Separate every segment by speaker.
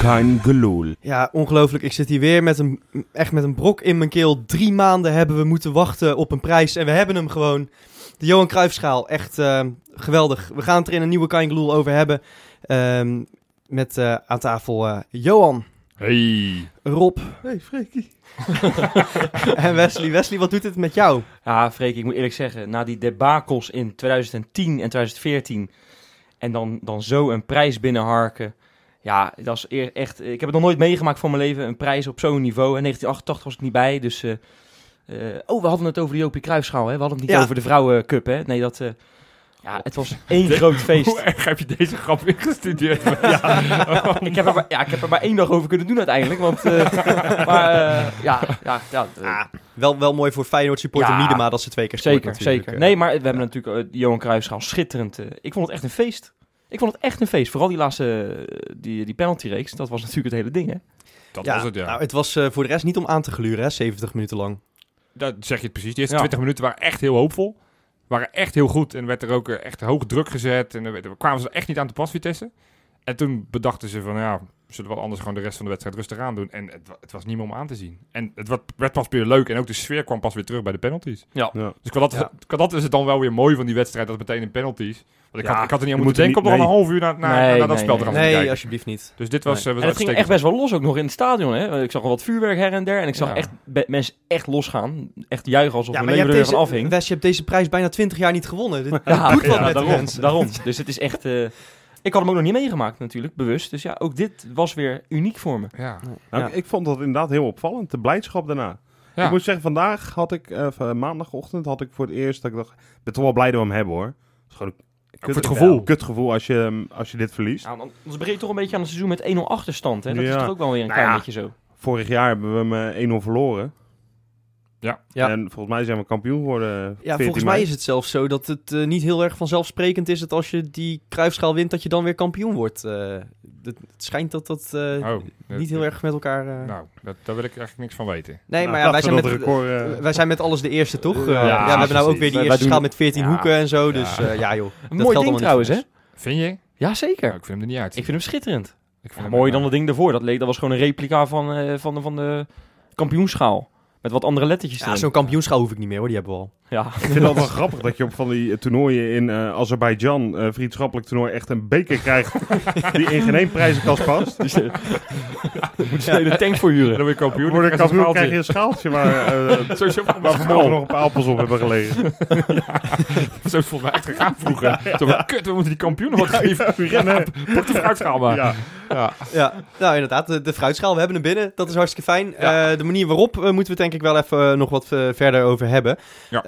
Speaker 1: kein geloel.
Speaker 2: Ja, ongelooflijk. Ik zit hier weer met een, echt met een brok in mijn keel. Drie maanden hebben we moeten wachten op een prijs en we hebben hem gewoon. De Johan Cruijffschaal, echt eh, geweldig. We gaan het er in een nieuwe Kein Geloel over hebben. Ehm, met eh, aan tafel eh, Johan,
Speaker 3: Hey.
Speaker 2: Rob
Speaker 1: Hey, Freekie.
Speaker 2: en Wesley. Wesley, wat doet het met jou?
Speaker 3: Ja, Freek, ik moet eerlijk zeggen, na die debakels in 2010 en 2014 en dan, dan zo een prijs binnenharken. Ja, dat is eer- echt. Ik heb het nog nooit meegemaakt van mijn leven, een prijs op zo'n niveau. En 1988 was ik niet bij, dus. eh, eh, oh, we hadden het over de Jopie Cruijffschaal, hè? We hadden het niet
Speaker 2: Ja.
Speaker 3: over de Vrouwencup, hè? Nee, dat. eh, ja, het was één groot feest.
Speaker 4: Hoe erg heb je deze grap ingestudeerd?
Speaker 3: Ik heb, er maar, ja, ik heb er maar één dag over kunnen doen uiteindelijk. Want, eh, maar eh, ja, ja, ja,
Speaker 4: Ah,
Speaker 3: eh,
Speaker 2: Wel, wel mooi voor Feyenoord supporter
Speaker 3: Ja.
Speaker 2: Miedema dat ze twee keer scoort
Speaker 3: Zeker,
Speaker 2: natuurlijk.
Speaker 3: zeker. Nee, maar we hebben natuurlijk eh, de Johan Cruijffschaal schitterend. eh, ik vond het echt een feest. Ik vond het echt een feest. Vooral die laatste eh, die, die penaltyreeks. Dat was natuurlijk het hele ding, hè?
Speaker 4: Dat was het, ja.
Speaker 2: nou, het was eh, voor de rest niet om aan te gluren, hè, 70 minuten lang.
Speaker 4: Dat zeg je het precies. De eerste
Speaker 3: Ja.
Speaker 4: 20 minuten waren echt heel hoopvol. Waren echt heel goed. En werd er ook eh, echt hoog druk gezet. En er werd- er kwamen ze echt niet aan te pas, Vitesse. En toen bedachten ze van, ja, we zullen wel anders gewoon de rest van de wedstrijd rustig aan doen. En het, wa- het was niet meer om aan te zien. En het wa- werd pas weer leuk. En ook de sfeer kwam pas weer terug bij de penalties.
Speaker 1: Ja.
Speaker 4: Dus qua dat,
Speaker 2: Ja.
Speaker 4: qua dat is het dan wel weer mooi van die wedstrijd, dat meteen in penalties. Want ik,
Speaker 1: Ja,
Speaker 4: had, ik had er niet aan
Speaker 1: je
Speaker 4: moeten
Speaker 1: moet
Speaker 4: denken
Speaker 1: er
Speaker 4: om nog
Speaker 1: niet-
Speaker 4: een half uur naar, naar,
Speaker 3: Nee,
Speaker 4: naar dat
Speaker 3: nee,
Speaker 4: spel te gaan
Speaker 3: Als
Speaker 2: Nee,
Speaker 4: kijken.
Speaker 2: alsjeblieft niet.
Speaker 4: Dus dit was,
Speaker 3: Nee.
Speaker 4: eh, was
Speaker 3: en het ging echt
Speaker 4: uitstekend.
Speaker 3: best wel los ook nog in het stadion, hè? Want Ik zag al wat vuurwerk her en der. En ik zag
Speaker 4: Ja.
Speaker 3: echt be- mensen echt losgaan. Echt juichen alsof
Speaker 2: ja,
Speaker 3: hun
Speaker 2: maar je
Speaker 3: leven
Speaker 2: hebt,
Speaker 3: er van
Speaker 2: deze,
Speaker 3: afhing.
Speaker 2: Wes, je hebt deze prijs bijna 20 jaar niet gewonnen. Dit
Speaker 3: Ja,
Speaker 2: doet wat
Speaker 3: ja,
Speaker 2: met de
Speaker 3: daarom,
Speaker 2: mensen.
Speaker 3: daarom. Dus het is echt... eh, ik had hem ook nog niet meegemaakt natuurlijk, bewust. Dus ja, ook dit was weer uniek voor me.
Speaker 4: Ja.
Speaker 1: Nou,
Speaker 2: Ja.
Speaker 1: Ik ik vond dat inderdaad heel opvallend. De blijdschap daarna.
Speaker 4: Ja.
Speaker 1: Ik moet zeggen, vandaag had ik, eh, van maandagochtend had ik voor het eerst dat ik dacht, ik ben toch wel blij dat we hem hebben hoor. Het is gewoon een kut,
Speaker 4: voor het gevoel.
Speaker 1: Kut gevoel als je, ehm, als je dit verliest.
Speaker 3: Ja, want anders begin je toch een beetje aan het seizoen met 1-0 achterstand, hè? Dat is
Speaker 1: Ja.
Speaker 3: toch ook wel weer een
Speaker 1: Nou
Speaker 3: klein
Speaker 1: ja.
Speaker 3: beetje zo.
Speaker 1: Vorig jaar hebben we hem eh, 1-0 verloren.
Speaker 4: Ja.
Speaker 2: Ja.
Speaker 1: En volgens mij zijn we kampioen geworden.
Speaker 2: Ja, volgens mij is het zelfs zo dat het eh, niet heel erg vanzelfsprekend is dat als je die kruifschaal wint, dat je dan weer kampioen wordt. Eh, het, het schijnt dat dat eh,
Speaker 4: Oh, dat-
Speaker 2: niet heel erg met elkaar. eh,
Speaker 4: Nou, dat, daar wil ik eigenlijk niks van weten.
Speaker 2: nee,
Speaker 1: Nou,
Speaker 2: maar ja, wij zijn, met,
Speaker 1: record, eh,
Speaker 2: wij zijn met alles de eerste, toch? Eh, ja,
Speaker 1: Ja,
Speaker 2: we hebben nou ook
Speaker 1: precies.
Speaker 2: weer die
Speaker 3: Wij- wij
Speaker 2: eerste
Speaker 3: doen-
Speaker 2: schaal met 14
Speaker 3: Ja.
Speaker 2: hoeken en zo.
Speaker 4: Ja.
Speaker 2: Dus eh, ja, joh. dat geldt
Speaker 3: Mooi
Speaker 2: allemaal
Speaker 3: ding
Speaker 2: niet
Speaker 3: trouwens,
Speaker 2: voor
Speaker 3: hè?
Speaker 2: ons.
Speaker 4: Vind je?
Speaker 3: Jazeker.
Speaker 4: Nou, ik vind hem er niet uit.
Speaker 3: Ik vind hem schitterend.
Speaker 4: Ik vind
Speaker 3: Ja,
Speaker 4: hem
Speaker 3: mooier
Speaker 4: echt
Speaker 3: dan
Speaker 4: uit.
Speaker 3: het ding daarvoor. Dat, leek, dat was gewoon een replica van, eh, van, de- van de kampioenschaal. Met wat andere lettertjes
Speaker 2: Ja,
Speaker 3: erin.
Speaker 2: zo'n kampioenschaal hoef ik niet meer hoor, die hebben we al.
Speaker 3: Ja.
Speaker 1: Ik vind het altijd wel grappig dat je op van die eh, toernooien in eh Azerbeidzjan, eh, vriendschappelijk toernooi, echt een beker krijgt die in geen één prijzenkast past.
Speaker 3: Dus, eh, moet je een hele tank voor
Speaker 4: En
Speaker 3: huren.
Speaker 4: dan word je kampioen.
Speaker 1: Word ik
Speaker 4: dan
Speaker 1: kampioen,
Speaker 4: krijg
Speaker 1: krijg je
Speaker 4: je een
Speaker 1: een schaaltje waar, eh,
Speaker 4: schaaltje. Zo is
Speaker 1: waar vanmorgen nog een paar appels op hebben gelegen.
Speaker 4: het volgens mij echt gegaan vroeger. Zo van, kut, we moeten die kampioen nog wat geven.
Speaker 1: Rennen.
Speaker 4: Pak de fruitschaal maar.
Speaker 1: Ja.
Speaker 2: Ja, nou inderdaad, de, de fruitschaal, we hebben hem binnen. Dat is hartstikke fijn. Eh, de manier waarop eh, moeten we het denk ik wel even eh, nog wat eh, verder over hebben.
Speaker 4: Ja.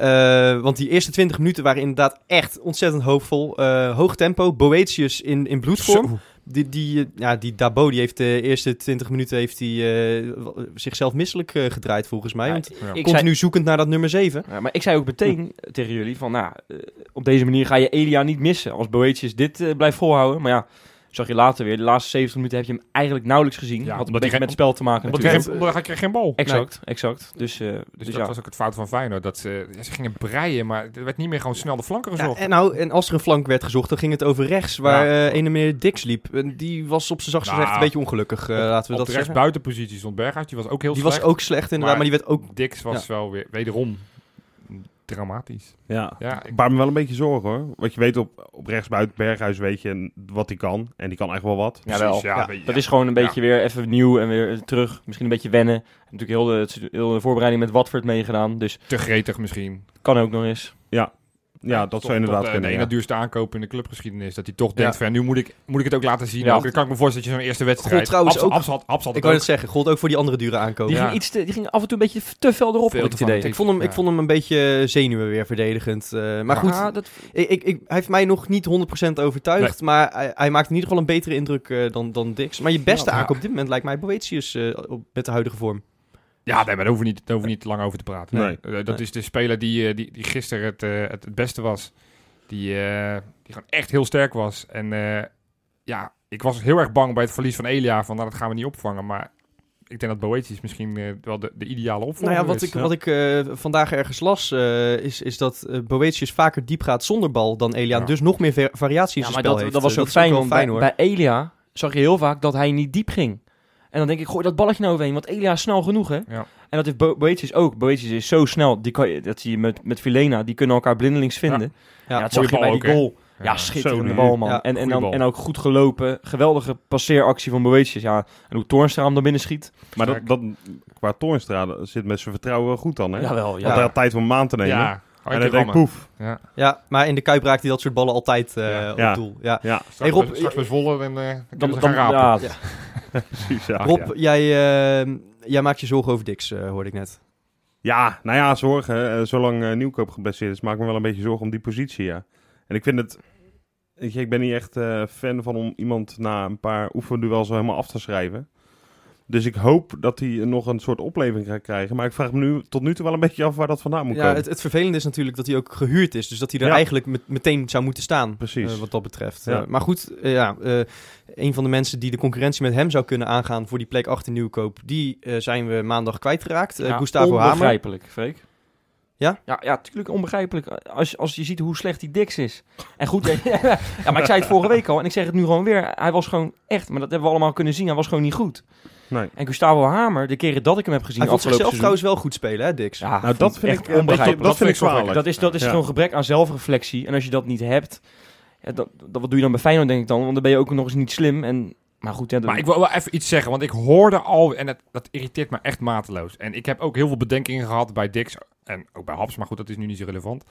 Speaker 2: Eh, want die eerste 20 minuten waren inderdaad echt ontzettend hoopvol. Eh, hoog tempo, Boetius in, in bloedvorm.
Speaker 4: Zo.
Speaker 2: Die, die, eh, ja, die Dabo die heeft de eerste 20 minuten heeft die, eh, w- zichzelf misselijk eh, gedraaid volgens mij.
Speaker 3: Ja,
Speaker 2: want
Speaker 4: Ja.
Speaker 3: ik zei,
Speaker 2: continu zoekend naar dat nummer 7.
Speaker 3: ja, maar ik zei ook meteen tegen jullie van, nou, eh, op deze manier ga je Elia niet missen. Als Boetius dit eh, blijft volhouden. Maar ja, zag je later weer. De laatste 70 minuten heb je hem eigenlijk nauwelijks gezien.
Speaker 4: Ja,
Speaker 3: Had een
Speaker 4: omdat
Speaker 3: beetje
Speaker 4: hij geen-
Speaker 3: met het spel te maken
Speaker 4: Want
Speaker 3: natuurlijk.
Speaker 4: ik krijg je geen bal.
Speaker 3: Exact, exact. Dus, eh,
Speaker 4: Dus,
Speaker 3: dus,
Speaker 4: dat
Speaker 3: ja.
Speaker 4: was ook het fout van Feyenoord. Dat ze, ja, ze gingen breien, maar er werd niet meer gewoon snel de flanken
Speaker 2: Ja,
Speaker 4: gezocht.
Speaker 2: en, nou, en als er een flank werd gezocht, dan ging het over rechts, waar eh een en meer Dix liep. En die was op zijn zachtst
Speaker 4: Nou,
Speaker 2: gezegd een beetje ongelukkig, eh, laten we dat
Speaker 4: Op de
Speaker 2: zeggen.
Speaker 4: rechtsbuitenpositie stond Berghuis. Die was ook heel
Speaker 2: Die
Speaker 4: slecht.
Speaker 2: was ook slecht inderdaad, maar,
Speaker 4: maar
Speaker 2: die werd ook...
Speaker 4: Dix was wel weer, wederom, dramatisch.
Speaker 1: Ja.
Speaker 4: Ja, ik-
Speaker 1: Ik baar me wel een beetje zorgen hoor. Want je weet op, op rechtsbuiten Berghuis weet je wat hij kan. En die kan echt wel wat.
Speaker 3: Jawel.
Speaker 4: ja,
Speaker 2: Ja,
Speaker 4: weet je,
Speaker 3: Dat
Speaker 4: ja.
Speaker 3: is gewoon een
Speaker 4: Ja.
Speaker 3: beetje weer even nieuw en weer terug. Misschien een beetje wennen. Natuurlijk heel de, het is heel de voorbereiding met Watford meegedaan. Dus
Speaker 4: te gretig misschien.
Speaker 3: kan ook nog eens.
Speaker 1: Ja, eh, dat zou inderdaad kunnen.
Speaker 4: kunnen. eh, De
Speaker 1: ja.
Speaker 4: ene duurste aankoop in de clubgeschiedenis. Dat hij toch denkt van, nu moet ik, moet ik het ook laten zien.
Speaker 3: Ja.
Speaker 4: Ook, dan kan ik me voorstellen dat je zo'n eerste wedstrijd...
Speaker 2: Gold trouwens
Speaker 4: Abs-
Speaker 2: ook.
Speaker 4: Abs had, Abs had
Speaker 2: Ik
Speaker 4: het
Speaker 2: wou
Speaker 4: ook.
Speaker 2: net zeggen, gold ook voor die andere dure aankoop.
Speaker 3: Die,
Speaker 4: Ja.
Speaker 3: ging iets te- die ging af en toe een beetje te fel erop,
Speaker 4: Veel
Speaker 3: had ik het
Speaker 4: te
Speaker 3: idee.
Speaker 4: fanatiek.
Speaker 2: Ik vond, hem, ik
Speaker 4: Ja.
Speaker 2: vond hem een beetje zenuwen weer verdedigend. eh, maar
Speaker 4: Ja.
Speaker 2: goed,
Speaker 3: Ah, dat,
Speaker 2: ik, ik, ik, hij heeft mij nog niet 100% overtuigd. Maar hij, hij maakt in ieder geval een betere indruk eh, dan, dan Dix. Maar je beste
Speaker 4: Ja, ja.
Speaker 2: aankoop op dit moment lijkt mij Boetius eh, op- met de huidige vorm.
Speaker 4: Ja, nee, maar daar hoeven we niet, daar hoeven we niet lang over te praten.
Speaker 1: Nee.
Speaker 4: Eh, dat
Speaker 2: Nee.
Speaker 4: is de speler die, eh, die, die gisteren het, eh, het, het beste was. Die, eh, die gewoon echt heel sterk was. En eh, ja, ik was heel erg bang bij het verlies van Elia. Van, nou, dat gaan we niet opvangen. Maar ik denk dat Boetius misschien eh, wel de, de ideale
Speaker 2: Nou
Speaker 4: opvolger
Speaker 2: ja, wat
Speaker 4: is.
Speaker 2: ik, wat ik eh, vandaag ergens las, eh, is, is dat eh, Boetius vaker diep gaat zonder bal dan Elian.
Speaker 4: Ja.
Speaker 2: Dus nog meer ver- variatie in
Speaker 3: ja,
Speaker 2: zijn spel
Speaker 3: maar dat,
Speaker 2: heeft.
Speaker 3: dat was
Speaker 2: Eh,
Speaker 3: ook
Speaker 2: is ook
Speaker 3: fijn,
Speaker 2: wel
Speaker 3: want bij,
Speaker 2: hoor.
Speaker 3: bij Elia zag je heel vaak dat hij niet diep ging. En dan denk ik, gooi dat balletje nou overheen. Want Elia is snel genoeg, hè?
Speaker 4: Ja.
Speaker 3: En dat heeft Bo- Boetius ook. Boetius is zo snel. Die kan je, dat zie je met, met Vilena. Die kunnen elkaar blindelings vinden. Ja, dat
Speaker 4: Mooie
Speaker 3: zag je bij
Speaker 4: bal
Speaker 3: die
Speaker 4: ook, hè?
Speaker 3: goal. Ja,
Speaker 4: Ja,
Speaker 3: schitterende
Speaker 1: zo,
Speaker 3: bal, man.
Speaker 2: ja,
Speaker 3: en, en,
Speaker 4: goeie
Speaker 3: dan,
Speaker 4: bal.
Speaker 3: en ook goed gelopen. Geweldige passeeractie van Boetius. Ja, en hoe Toornstra hem dan binnen schiet.
Speaker 1: Maar dat,
Speaker 4: Sterk.
Speaker 1: dat, qua Toornstra dat zit met zijn vertrouwen wel goed dan, hè? Want
Speaker 3: Jawel,
Speaker 1: hij had tijd om hem aan te nemen.
Speaker 4: Ja, Oh,
Speaker 1: en
Speaker 4: hartje
Speaker 1: dan denk ik, poef.
Speaker 4: rammen.
Speaker 2: Ja, maar in de Kuip raakt hij dat soort ballen altijd eh,
Speaker 4: Ja.
Speaker 2: op
Speaker 1: Ja.
Speaker 2: doel. Ja.
Speaker 1: Ja,
Speaker 4: Straks,
Speaker 2: Hey, Rob,
Speaker 4: bij- straks bij Zwolle en eh dan,
Speaker 3: Dan,
Speaker 4: ze
Speaker 3: dan,
Speaker 4: gaan rapen.
Speaker 3: ja,
Speaker 2: Ja.
Speaker 1: precies. Ja,
Speaker 2: Rob,
Speaker 1: ja.
Speaker 2: Jij, eh, jij maakt je zorgen over Dix, eh, hoorde ik net.
Speaker 1: Ja, nou ja, zorgen. eh, zolang eh, Nieuwkoop geblesseerd is, maak ik me wel een beetje zorgen om die positie, ja. En ik vind het... weet je, ik ben niet echt eh, fan van om iemand na een paar oefenduels al helemaal af te schrijven. Dus ik hoop dat hij nog een soort opleving gaat krijgen. Maar ik vraag me nu tot nu toe wel een beetje af waar dat vandaan moet
Speaker 2: Ja,
Speaker 1: komen.
Speaker 2: het, het vervelende is natuurlijk dat hij ook gehuurd is. Dus dat hij er
Speaker 1: Ja.
Speaker 2: eigenlijk met- meteen zou moeten staan.
Speaker 1: Precies.
Speaker 2: eh, wat dat betreft.
Speaker 1: Ja.
Speaker 2: Eh, maar goed, eh, ja, eh, een van de mensen die de concurrentie met hem zou kunnen aangaan voor die plek achter nieuwkoop, die eh, zijn we maandag kwijtgeraakt. Eh,
Speaker 3: Ja,
Speaker 2: Gustavo Hamer.
Speaker 3: Onbegrijpelijk, Freek.
Speaker 2: Ja?
Speaker 3: ja? Ja, natuurlijk onbegrijpelijk. Als, als je ziet hoe slecht die Dix is. En goed, ja, maar ik zei het vorige week al en ik zeg het nu gewoon weer. Hij was gewoon echt, maar dat hebben we allemaal kunnen zien, hij was gewoon niet goed.
Speaker 1: Nee.
Speaker 3: En Gustavo Hamer, de keren dat ik hem heb gezien
Speaker 2: Hij vond
Speaker 3: afgelopen
Speaker 2: zichzelf
Speaker 3: seizoen...
Speaker 2: trouwens wel goed spelen, hè, Dix?
Speaker 3: Ja,
Speaker 1: nou, dat vind ik eh,
Speaker 3: Ah, echt
Speaker 1: dat, dat,
Speaker 3: onbegrijpelijk.
Speaker 1: vind ik kwalijk.
Speaker 4: zorgelijk.
Speaker 3: Dat is, dat is
Speaker 1: Ja.
Speaker 3: gewoon gebrek aan zelfreflectie. En als je dat niet hebt, ja, dat, dat, wat doe je dan bij Feyenoord, denk ik dan? Want dan ben je ook nog eens niet slim. En, maar goed, ja, dat-
Speaker 4: Maar ik wil wel even iets zeggen, want ik hoorde al, en het, dat irriteert me echt mateloos. En ik heb ook heel veel bedenkingen gehad bij Dix en ook bij Haps, maar goed, dat is nu niet zo relevant.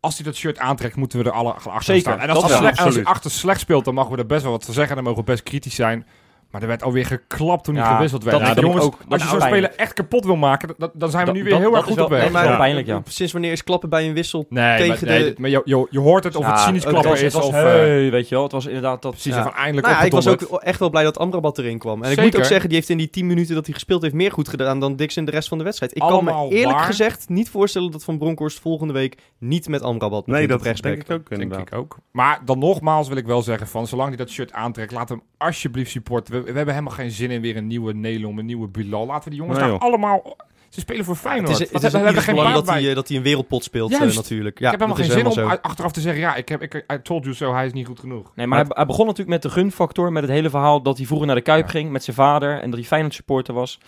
Speaker 4: Als hij dat shirt aantrekt, moeten we er alle gaan achter
Speaker 3: Zeker,
Speaker 4: staan. En
Speaker 3: dat
Speaker 4: als, hij
Speaker 1: wel,
Speaker 4: slecht- en als hij
Speaker 1: absoluut.
Speaker 4: achter slecht speelt, dan mogen we er best wel wat van zeggen. Dan mogen we best kritisch zijn. Maar er werd alweer geklapt toen hij
Speaker 3: Ja,
Speaker 4: gewisseld werd.
Speaker 3: dat
Speaker 4: Ja,
Speaker 1: vind ik
Speaker 4: jongens,
Speaker 3: ook- dat
Speaker 4: als je
Speaker 3: is
Speaker 4: zo'n
Speaker 3: pijnlijk.
Speaker 4: speler echt kapot wil maken, dat- dan zijn we
Speaker 3: Dat-
Speaker 4: nu weer
Speaker 3: dat-
Speaker 4: heel
Speaker 3: dat
Speaker 4: erg
Speaker 3: is wel-
Speaker 4: goed op weg.
Speaker 3: nee, maar-
Speaker 4: Ja.
Speaker 3: wel pijnlijk, ja.
Speaker 2: Sinds wanneer is klappen bij een wissel?
Speaker 4: Nee,
Speaker 2: Tegen
Speaker 4: maar, nee,
Speaker 2: de-
Speaker 4: dit- maar je, je, je hoort het of het
Speaker 3: Ja,
Speaker 4: cynisch
Speaker 2: ook
Speaker 4: klapper
Speaker 3: het was-
Speaker 4: is.
Speaker 3: het was,
Speaker 4: Of, eh,
Speaker 3: hey, weet je wel, het was inderdaad dat...
Speaker 4: precies,
Speaker 2: Ja.
Speaker 4: van eindelijk
Speaker 2: Nou ja, ik was
Speaker 4: opgedonderd.
Speaker 2: ook echt wel blij dat Amrabat erin kwam. En ik moet
Speaker 4: Zeker.
Speaker 2: ook zeggen, die heeft in die 10 minuten dat hij gespeeld heeft meer goed gedaan dan Dix in de rest van de wedstrijd. Ik kan
Speaker 4: Allemaal
Speaker 2: me eerlijk
Speaker 4: waar.
Speaker 2: gezegd niet voorstellen dat Van Bronckhorst volgende week niet met Amrabat
Speaker 1: Nee,
Speaker 2: begint
Speaker 1: dat
Speaker 2: op rechtsback.
Speaker 1: denk ik ook inderdaad.
Speaker 4: Denk ik ook. Maar dan nogmaals wil ik wel zeggen van, zolang hij dat shirt aantrekt, laat hem alsjeblieft supporten. We, we hebben helemaal geen zin in weer een nieuwe Nelom, een nieuwe Bilal. Laten we die jongens
Speaker 1: Nee,
Speaker 4: daar
Speaker 1: joh.
Speaker 4: allemaal... Ze spelen voor
Speaker 2: Het
Speaker 4: Feyenoord.
Speaker 2: is,
Speaker 4: Wat
Speaker 2: het is
Speaker 4: hebben- we
Speaker 2: in
Speaker 4: hebben
Speaker 2: ieder
Speaker 4: geen
Speaker 2: belang
Speaker 4: baat
Speaker 2: dat
Speaker 4: bij.
Speaker 2: hij, eh, dat hij een wereldpot speelt eh,
Speaker 4: Juist.
Speaker 2: natuurlijk. Ja,
Speaker 4: ik heb
Speaker 2: dat
Speaker 4: helemaal geen
Speaker 2: is
Speaker 4: zin om
Speaker 2: helemaal zo.
Speaker 4: uit- achteraf te zeggen, ja, ik, heb, ik, I told you so, hij is niet goed genoeg.
Speaker 3: Nee, maar hij, hij begon natuurlijk met de gunfactor, met het hele verhaal dat hij vroeger naar de Kuip
Speaker 4: Ja.
Speaker 3: ging met zijn vader en dat hij Feyenoord supporter was.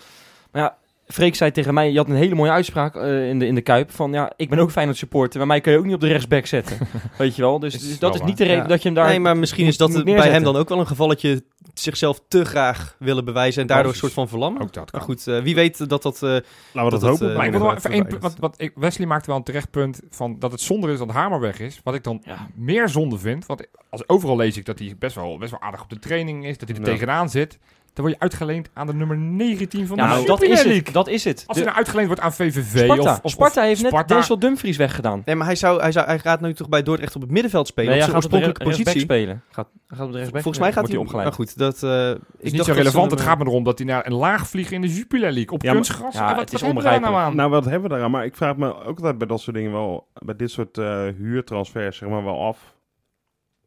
Speaker 3: Maar ja, Freek zei tegen mij, je had een hele mooie uitspraak eh, in, de, in de Kuip van ja, ik ben ook Feyenoord supporter, maar mij kun je ook niet op de rechtsback zetten. Weet je wel, dus,
Speaker 4: Is
Speaker 3: dus
Speaker 4: wel
Speaker 3: dat is
Speaker 4: waar.
Speaker 3: niet de reden
Speaker 2: Ja.
Speaker 3: dat je hem daar...
Speaker 2: nee, maar misschien
Speaker 3: moet-
Speaker 2: is dat
Speaker 3: moet
Speaker 2: het bij
Speaker 3: neerzetten.
Speaker 2: hem dan ook wel een gevalletje zichzelf te graag willen bewijzen en daardoor een soort van verlammen.
Speaker 4: Ook dat
Speaker 2: Maar
Speaker 4: kan.
Speaker 2: goed, eh, wie weet dat dat... eh,
Speaker 1: Laten we dat,
Speaker 2: Dat dat,
Speaker 1: hopen.
Speaker 2: eh,
Speaker 4: maar ik wil
Speaker 2: nog
Speaker 4: nog
Speaker 2: even
Speaker 4: even één punt,
Speaker 2: verwijderd.
Speaker 4: want, want ik, Wesley maakte wel een terecht punt van dat het zonde is dat Hamer weg is. Wat ik dan
Speaker 3: Ja.
Speaker 4: meer zonde vind, want als, overal lees ik dat hij best wel, best wel aardig op de training is, dat hij er
Speaker 1: Ja.
Speaker 4: tegenaan zit. Dan word je uitgeleend aan de nummer 19 van
Speaker 3: Ja,
Speaker 4: de
Speaker 3: maar dat
Speaker 4: Super
Speaker 3: is
Speaker 4: League.
Speaker 3: het, dat is het.
Speaker 4: Als
Speaker 3: De-
Speaker 4: hij nou uitgeleend wordt aan VVV
Speaker 3: Sparta,
Speaker 4: of, of
Speaker 3: Sparta heeft net
Speaker 4: Sparta.
Speaker 3: Denzel Dumfries weggedaan.
Speaker 2: Nee, maar hij, zou, hij, zou, hij gaat nu toch bij Dordrecht op het middenveld spelen? op zijn
Speaker 3: op de
Speaker 2: oorspronkelijke
Speaker 3: re- rechtsback
Speaker 2: positie.
Speaker 3: spelen. Gaat, hij gaat op de rechtsback
Speaker 2: Volgens mij gaat
Speaker 3: wordt hij opgeleid.
Speaker 2: Nou goed, dat eh,
Speaker 4: Het is niet zo relevant. Het gaat me erom dat hij naar een laag vliegt in de Jupiler League. Op
Speaker 1: Ja, maar-
Speaker 4: kunstgras.
Speaker 3: Ja,
Speaker 4: En wat,
Speaker 3: het is
Speaker 4: wat hebben we daar nou aan?
Speaker 1: Nou, wat hebben we daaraan? Maar ik vraag me ook altijd bij dat soort dingen wel, bij dit soort eh, huurtransfers, zeg maar wel af.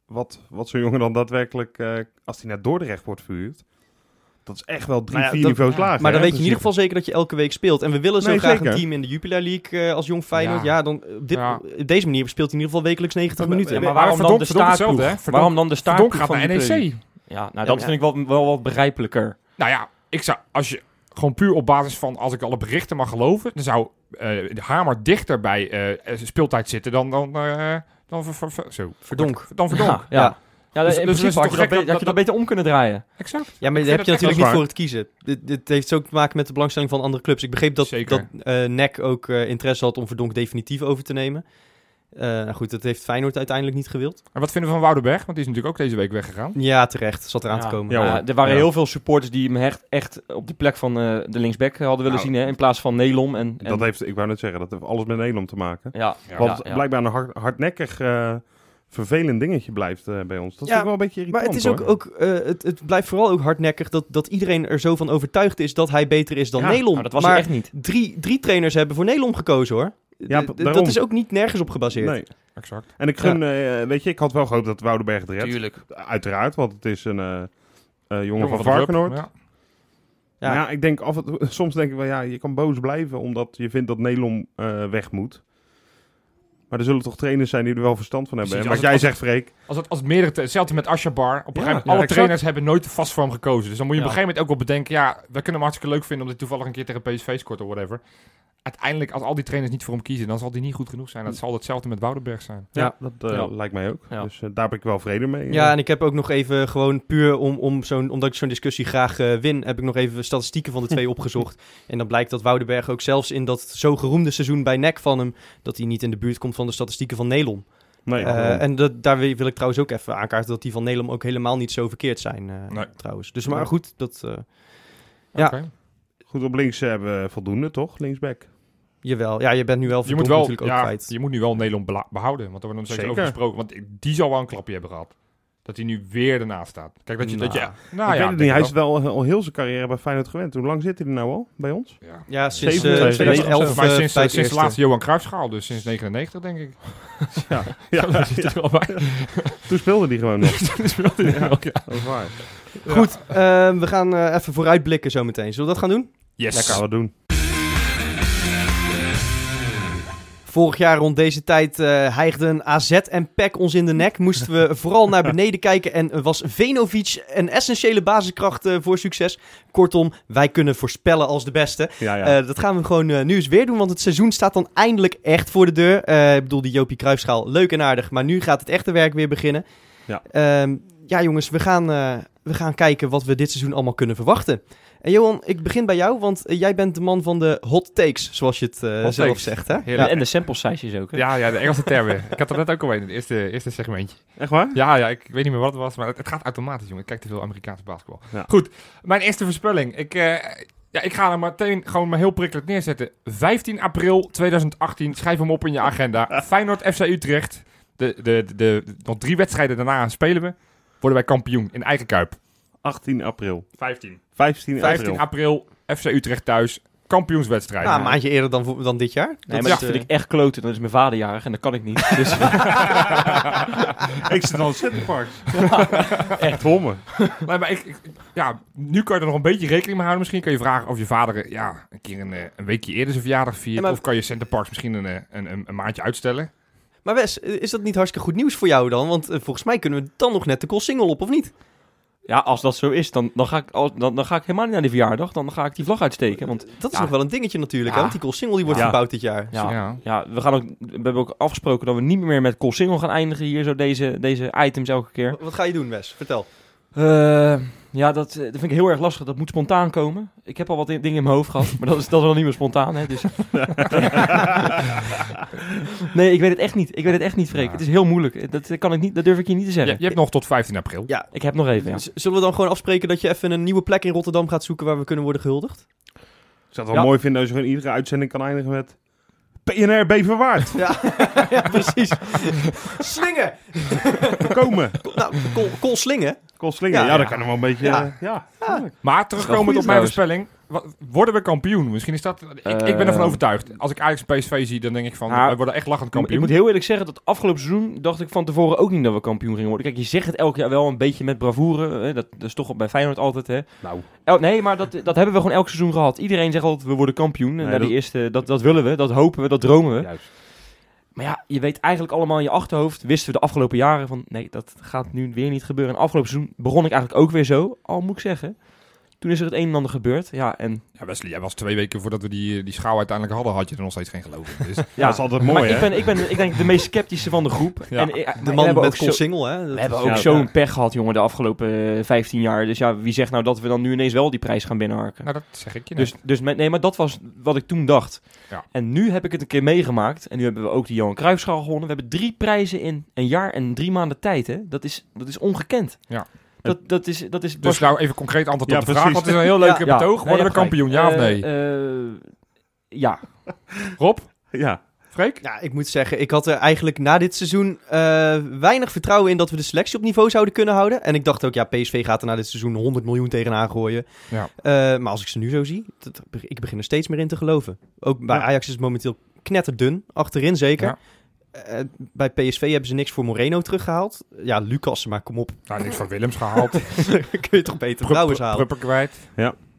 Speaker 1: Wat, wat zo'n jongen dan daadwerkelijk, eh, als hij naar Dordrecht wordt verhuurd, dat is echt wel drie,
Speaker 2: Maar Nou ja,
Speaker 1: vier
Speaker 2: dat-
Speaker 1: niveaus
Speaker 4: ja.
Speaker 1: lager.
Speaker 2: Maar dan
Speaker 1: hè,
Speaker 2: weet je in ieder
Speaker 1: principe.
Speaker 2: geval zeker dat je elke week speelt. En we willen zo
Speaker 1: Nee,
Speaker 2: graag een
Speaker 1: zeker.
Speaker 2: team in de Jupiler League eh, als jong Feyenoord. Ja,
Speaker 4: Ja.
Speaker 2: dan, eh, op dit,
Speaker 4: Ja.
Speaker 2: op deze manier speelt hij in ieder geval wekelijks 90 minuten.
Speaker 3: Ja,
Speaker 2: maar,
Speaker 3: maar waarom dan
Speaker 4: Verdonk-
Speaker 3: de
Speaker 4: Verdonk hetzelfde,
Speaker 3: staartploeg?
Speaker 4: hè? Verdonk-
Speaker 3: Waarom dan de
Speaker 4: Verdonk
Speaker 3: staartploeg
Speaker 4: gaat
Speaker 3: van
Speaker 4: naar E
Speaker 3: die
Speaker 4: NEC.
Speaker 3: play? Ja, nou dat
Speaker 4: maar-
Speaker 3: vind ik wel, wel wat begrijpelijker.
Speaker 4: Nou ja, ik zou, als je gewoon puur op basis van, als ik alle berichten mag geloven, dan zou eh, de Hamer dichter bij eh, speeltijd zitten dan, dan, eh, dan ver- ver- ver- zo.
Speaker 2: Verdonk.
Speaker 4: Dan Verdonk.
Speaker 3: Ja, ja. ja in
Speaker 4: Dus- dus
Speaker 3: principe
Speaker 4: is het
Speaker 3: had
Speaker 4: toch
Speaker 3: je dat,
Speaker 4: gek
Speaker 3: be-
Speaker 4: dat-
Speaker 3: had je dat beter om kunnen draaien.
Speaker 4: Exact.
Speaker 2: ja, maar
Speaker 4: Ik
Speaker 2: daar heb
Speaker 4: vind
Speaker 2: je natuurlijk
Speaker 4: dat echt
Speaker 2: niet
Speaker 4: waar.
Speaker 2: voor het kiezen. Dit, dit heeft ook te maken met de belangstelling van andere clubs. Ik begreep dat, dat
Speaker 4: Zeker.
Speaker 2: eh, NEC ook eh, interesse had om Verdonk definitief over te nemen. Eh, nou goed, dat heeft Feyenoord uiteindelijk niet gewild.
Speaker 4: En wat vinden we van Woudenberg? Want die is natuurlijk ook deze week weggegaan.
Speaker 2: Ja, terecht. Zat eraan
Speaker 3: Ja.
Speaker 2: te komen.
Speaker 1: Ja,
Speaker 3: Ja,
Speaker 1: hoor.
Speaker 3: er waren
Speaker 1: Ja.
Speaker 3: heel veel supporters die hem echt, echt op die plek van eh, de linksback hadden willen
Speaker 4: Nou,
Speaker 3: zien. Hè, in plaats van Nelom. En, en-
Speaker 1: Dat heeft, ik wou net zeggen, dat heeft alles met Nederland te maken.
Speaker 3: ja,
Speaker 4: Ja.
Speaker 1: Want
Speaker 3: ja, ja.
Speaker 1: blijkbaar een hard, hardnekkig, eh, vervelend dingetje blijft eh, bij ons. Dat
Speaker 2: Ja,
Speaker 1: is ook wel een beetje
Speaker 2: Maar
Speaker 1: irritant,
Speaker 2: het, is ook,
Speaker 1: hoor.
Speaker 2: ook, eh, het, het blijft vooral ook hardnekkig dat, dat iedereen er zo van overtuigd is dat hij beter is dan
Speaker 1: Ja,
Speaker 2: Nelom.
Speaker 3: Nou, dat was
Speaker 2: maar
Speaker 3: hij echt niet.
Speaker 2: drie, drie trainers hebben voor Nelom gekozen hoor.
Speaker 1: Ja,
Speaker 2: D- d-
Speaker 1: daarom.
Speaker 2: dat is ook niet nergens op gebaseerd.
Speaker 1: Nee.
Speaker 4: Exact.
Speaker 1: En ik gun, eh, weet je, ik had wel gehoopt dat Woudenberg het redt.
Speaker 3: Tuurlijk.
Speaker 1: Uiteraard, want het is een eh, eh, jongen,
Speaker 4: Jongen
Speaker 1: van
Speaker 4: de club.
Speaker 1: Varkenoord.
Speaker 4: Ja.
Speaker 2: Ja.
Speaker 1: Ja. ik denk af en toe, soms denk ik wel, ja, je kan boos blijven omdat je vindt dat Nelom eh, weg moet. Maar er zullen toch trainers zijn die er wel verstand van hebben.
Speaker 4: Precies,
Speaker 1: en wat
Speaker 4: als
Speaker 1: jij zegt, Freek.
Speaker 4: Als het, als het meerdere, te- hetzelfde met Ashabar. Op een gegeven moment,
Speaker 1: ja,
Speaker 4: alle
Speaker 1: exact.
Speaker 4: trainers hebben nooit vast voor hem gekozen. Dus dan moet je op een
Speaker 3: Ja.
Speaker 4: gegeven moment ook wel bedenken, ja, we kunnen hem hartstikke leuk vinden omdat hij toevallig een keer tegen PSV scoort of whatever. Uiteindelijk, als al die trainers niet voor hem kiezen, dan zal die niet goed genoeg zijn. Dat zal hetzelfde met Woudenberg zijn.
Speaker 2: Ja.
Speaker 1: dat eh,
Speaker 3: Ja.
Speaker 1: lijkt mij ook.
Speaker 3: Ja.
Speaker 1: Dus eh, daar ben ik wel vrede mee. eh.
Speaker 2: Ja, en ik heb ook nog even gewoon puur om, om zo'n, omdat ik zo'n discussie graag eh, win, heb ik nog even statistieken van de twee opgezocht. En dan blijkt dat Woudenberg ook zelfs in dat zo geroemde seizoen bij NEC van hem, dat hij niet in de buurt komt van de statistieken van Nelom.
Speaker 1: nee,
Speaker 2: Eh,
Speaker 1: waarom?
Speaker 2: en dat, daar wil wil ik trouwens ook even aankaarten dat die van Nelom ook helemaal niet zo verkeerd zijn eh,
Speaker 4: Nee.
Speaker 2: trouwens. Dus maar
Speaker 1: Nee.
Speaker 2: goed, dat, eh, Ja.
Speaker 4: Oké.
Speaker 1: Goed, op links eh, hebben we voldoende, toch? Linksback.
Speaker 4: Ah,
Speaker 2: jawel. Ja, je bent nu wel
Speaker 4: Je moet,
Speaker 2: verdomd
Speaker 4: wel,
Speaker 2: natuurlijk ook
Speaker 4: ja,
Speaker 2: kwijt.
Speaker 4: je moet nu wel Nederland bela- behouden, want daar wordt nog steeds
Speaker 1: Zeker.
Speaker 4: over gesproken. Want ik- die zal wel een klapje hebben gehad. Dat hij nu weer ernaast staat. Kijk, dat je... Dat je
Speaker 2: Nou,
Speaker 4: nou
Speaker 1: ik weet het
Speaker 4: ja, denk
Speaker 1: niet.
Speaker 4: ik
Speaker 1: Hij is wel eh, al heel zijn carrière bij Feyenoord gewend. Hoe lang zit hij er nou al bij ons?
Speaker 4: wel. Ja.
Speaker 2: Ja, sinds eh,
Speaker 1: 27,
Speaker 2: 2011
Speaker 4: Maar
Speaker 2: eh,
Speaker 4: sinds,
Speaker 2: bij het
Speaker 4: sinds de
Speaker 2: eerste.
Speaker 4: laatste Johan Cruijffschaal, dus sinds 99 denk ik.
Speaker 1: Ja,
Speaker 4: Ja, dat zit er al bij.
Speaker 1: toen speelde hij gewoon nog.
Speaker 4: Dus wel die- ook, ja.
Speaker 1: Dat is waar.
Speaker 2: Goed, eh, we gaan eh, even vooruitblikken zometeen. Zullen we dat gaan doen?
Speaker 4: Yes.
Speaker 1: Lekker wat doen.
Speaker 2: Vorig jaar rond deze tijd eh hijgden AZ en PEC ons in de nek. Moesten we vooral naar beneden kijken en was Venovic een essentiële basiskracht eh, voor succes. Kortom, wij kunnen voorspellen als de beste.
Speaker 1: Ja, ja.
Speaker 2: Eh, dat gaan we gewoon eh, nu eens weer doen, want het seizoen staat dan eindelijk echt voor de deur. Eh, ik bedoel, die Jopie Cruijffschaal, leuk en aardig, maar nu gaat het echte werk weer beginnen.
Speaker 1: Ja.
Speaker 2: Ehm, ja jongens, we gaan, eh, we gaan kijken wat we dit seizoen allemaal kunnen verwachten. En Johan, ik begin bij jou, want eh, jij bent de man van de hot takes, zoals je het eh,
Speaker 4: Hot
Speaker 2: zelf
Speaker 4: takes.
Speaker 2: zegt. Hè?
Speaker 4: Heerlijk.
Speaker 2: Ja.
Speaker 3: En de sample sizes ook. Hè?
Speaker 4: Ja, ja, de Engelse term weer. Ik had dat net ook al in het eerste, eerste segmentje.
Speaker 1: Echt waar?
Speaker 4: Ja, ja, ik weet niet meer wat het was, maar het, het gaat automatisch, jongen. Ik kijk te veel Amerikaanse basketbal.
Speaker 1: Ja.
Speaker 4: Goed, mijn eerste voorspelling. Ik, eh, ja, ik ga hem meteen gewoon maar heel prikkelijk neerzetten. 15 april 2018, schrijf hem op in je agenda. Feyenoord FC Utrecht. De, de, de, de- nog drie wedstrijden daarna spelen we. Worden wij kampioen in eigen kuip.
Speaker 1: 18 april.
Speaker 4: 15.
Speaker 1: 15 april.
Speaker 4: 15 april, FC Utrecht thuis. Kampioenswedstrijd.
Speaker 2: Nou, een maandje eerder dan, vo- dan dit jaar.
Speaker 3: Nee,
Speaker 2: Dat
Speaker 3: maar
Speaker 2: is,
Speaker 3: dat
Speaker 2: eh,
Speaker 3: vind ik echt kloten. Dan is mijn vader jarig en dat kan ik niet. Dus
Speaker 1: Ik zit al in Centerpark. Echt homme.
Speaker 4: Nee, maar ik, ik- ja, nu kan je er nog een beetje rekening mee houden. Misschien kan je vragen of je vader eh, ja, een keer een, eh, een weekje eerder zijn verjaardag viert.
Speaker 2: Ja, maar-
Speaker 4: Of kan je Center Parks misschien een, eh, een, een, een maandje uitstellen.
Speaker 2: Maar Wes, eh, is dat niet hartstikke goed nieuws voor jou dan? Want eh, volgens mij kunnen we dan nog net de single op, of niet?
Speaker 3: ja, als dat zo is, dan, dan, ga ik, als- dan, dan ga ik helemaal niet naar die verjaardag. Dan ga ik die vlag uitsteken. Want
Speaker 2: Dat is
Speaker 4: Ja.
Speaker 2: nog wel een dingetje natuurlijk,
Speaker 4: Ja.
Speaker 2: hè? want die single die wordt
Speaker 1: Ja.
Speaker 2: verbouwd dit jaar.
Speaker 3: ja,
Speaker 4: ja.
Speaker 3: Ja, we, gaan ook, we hebben ook afgesproken dat we niet meer met call single gaan eindigen hier, zo deze, deze items elke keer.
Speaker 2: Wat ga je doen, Wes? Vertel.
Speaker 3: Eh, ja, dat, eh, dat vind ik heel erg lastig. Dat moet spontaan komen. Ik heb al wat i- dingen in mijn hoofd gehad, maar dat is, dat is wel niet meer spontaan. Hè, dus. nee, ik weet het echt niet. Ik weet het echt niet, Freek.
Speaker 4: Ja.
Speaker 3: Het is heel moeilijk. Dat, eh, kan ik niet, dat durf ik hier niet te
Speaker 4: Je,
Speaker 3: zeggen.
Speaker 4: je hebt nog tot 15 april.
Speaker 2: Ja.
Speaker 3: Ik heb nog even, ja.
Speaker 2: Z- Zullen we dan gewoon afspreken dat je even een nieuwe plek in Rotterdam gaat zoeken waar we kunnen worden gehuldigd?
Speaker 1: Ik zou het wel
Speaker 3: Ja.
Speaker 1: mooi vinden als je gewoon iedere uitzending kan eindigen met... PNR Beverwaard,
Speaker 2: ja, precies. slingen!
Speaker 1: komen.
Speaker 2: Nou, Col, Col Slingen.
Speaker 1: Kostlingen. Ja,
Speaker 2: Ja,
Speaker 1: ja,
Speaker 2: ja.
Speaker 1: dat kan hem wel een beetje...
Speaker 2: Ja.
Speaker 1: eh, ja.
Speaker 4: Maar
Speaker 3: Dat
Speaker 4: terugkomend
Speaker 3: is
Speaker 4: op
Speaker 3: wel
Speaker 4: mijn
Speaker 3: goed
Speaker 4: voorspelling. wa- Worden we kampioen? Misschien is dat... Ik, ik ben ervan
Speaker 3: Eh.
Speaker 4: overtuigd. Als ik Ajax en PSV zie, dan denk ik van...
Speaker 3: Nou,
Speaker 4: wij worden echt lachend kampioen.
Speaker 3: Ik moet heel eerlijk zeggen dat afgelopen seizoen dacht ik van tevoren ook niet dat we kampioen gingen worden. Kijk, je zegt het elk jaar wel een beetje met bravoure. Hè? Dat, dat is toch bij Feyenoord altijd, hè?
Speaker 1: Nou,
Speaker 3: El- nee, maar dat, dat hebben we gewoon elk seizoen gehad. Iedereen zegt altijd, we worden kampioen. En
Speaker 1: Nee,
Speaker 3: naar die
Speaker 1: dat-
Speaker 3: eerste, dat, dat willen we, dat hopen we, dat dromen we.
Speaker 1: juist.
Speaker 3: Maar ja, je weet eigenlijk allemaal in je achterhoofd, wisten we de afgelopen jaren van, nee, dat gaat nu weer niet gebeuren. En afgelopen seizoen begon ik eigenlijk ook weer zo, al moet ik zeggen. Toen is er het een en ander gebeurd. Ja, en,
Speaker 4: Ja, Wesley, jij was twee weken voordat we die, die schouw uiteindelijk hadden, had je er nog steeds geen geloof in. Dus
Speaker 1: Ja, dat is altijd mooi,
Speaker 3: maar
Speaker 1: hè?
Speaker 3: ik ben, ik ben ik denk de meest sceptische van de groep.
Speaker 4: Ja.
Speaker 3: En, ik- maar
Speaker 2: De
Speaker 3: we
Speaker 2: man
Speaker 3: hebben
Speaker 2: met
Speaker 3: ook
Speaker 2: Col
Speaker 3: zo-
Speaker 2: Single, hè? Dat
Speaker 3: we
Speaker 2: is-
Speaker 3: hebben ook
Speaker 1: Ja,
Speaker 3: zo'n
Speaker 1: ja.
Speaker 3: pech gehad, jongen, de afgelopen eh, 15 jaar. Dus ja, wie zegt nou dat we dan nu ineens wel die prijs gaan binnenharken?
Speaker 4: nou, dat zeg ik je net.
Speaker 3: Dus, dus met, nee, maar dat was wat ik toen dacht.
Speaker 4: Ja.
Speaker 3: En nu heb ik het een keer meegemaakt. En nu hebben we ook de Johan Cruijffschaal gewonnen. We hebben drie prijzen in een jaar en drie maanden tijd. Hè? Dat, is, dat is ongekend.
Speaker 4: Ja.
Speaker 3: Dat, dat is... Dat is
Speaker 4: Dus nou even concreet antwoord
Speaker 1: Ja,
Speaker 4: op de vraag.
Speaker 1: precies.
Speaker 4: Wat is een heel leuke
Speaker 3: Ja.
Speaker 4: betoog.
Speaker 3: Nee,
Speaker 4: Worden we
Speaker 3: je hebt
Speaker 4: kampioen, ja
Speaker 3: gelijk.
Speaker 4: of nee?
Speaker 3: Eh, eh, ja.
Speaker 4: Rob?
Speaker 1: Ja.
Speaker 4: Freek?
Speaker 2: Ja, ik moet zeggen, ik had er eigenlijk na dit seizoen eh, weinig vertrouwen in dat we de selectie op niveau zouden kunnen houden. En ik dacht ook, ja, PSV gaat er na dit seizoen 100 miljoen tegenaan gooien.
Speaker 4: Ja.
Speaker 2: Eh, maar als ik ze nu zo zie, dat, ik begin er steeds meer in te geloven. Ook bij
Speaker 1: Ja.
Speaker 2: Ajax is het momenteel knetterdun, achterin zeker.
Speaker 4: Ja.
Speaker 2: Eh, bij PSV hebben ze niks voor Moreno teruggehaald. Ja, Lucas, maar kom op,
Speaker 4: Nou, niks van Willems gehaald.
Speaker 2: kun je toch beter
Speaker 4: Pru-
Speaker 2: Brouwers
Speaker 4: pru-
Speaker 2: halen?
Speaker 4: Prupper kwijt.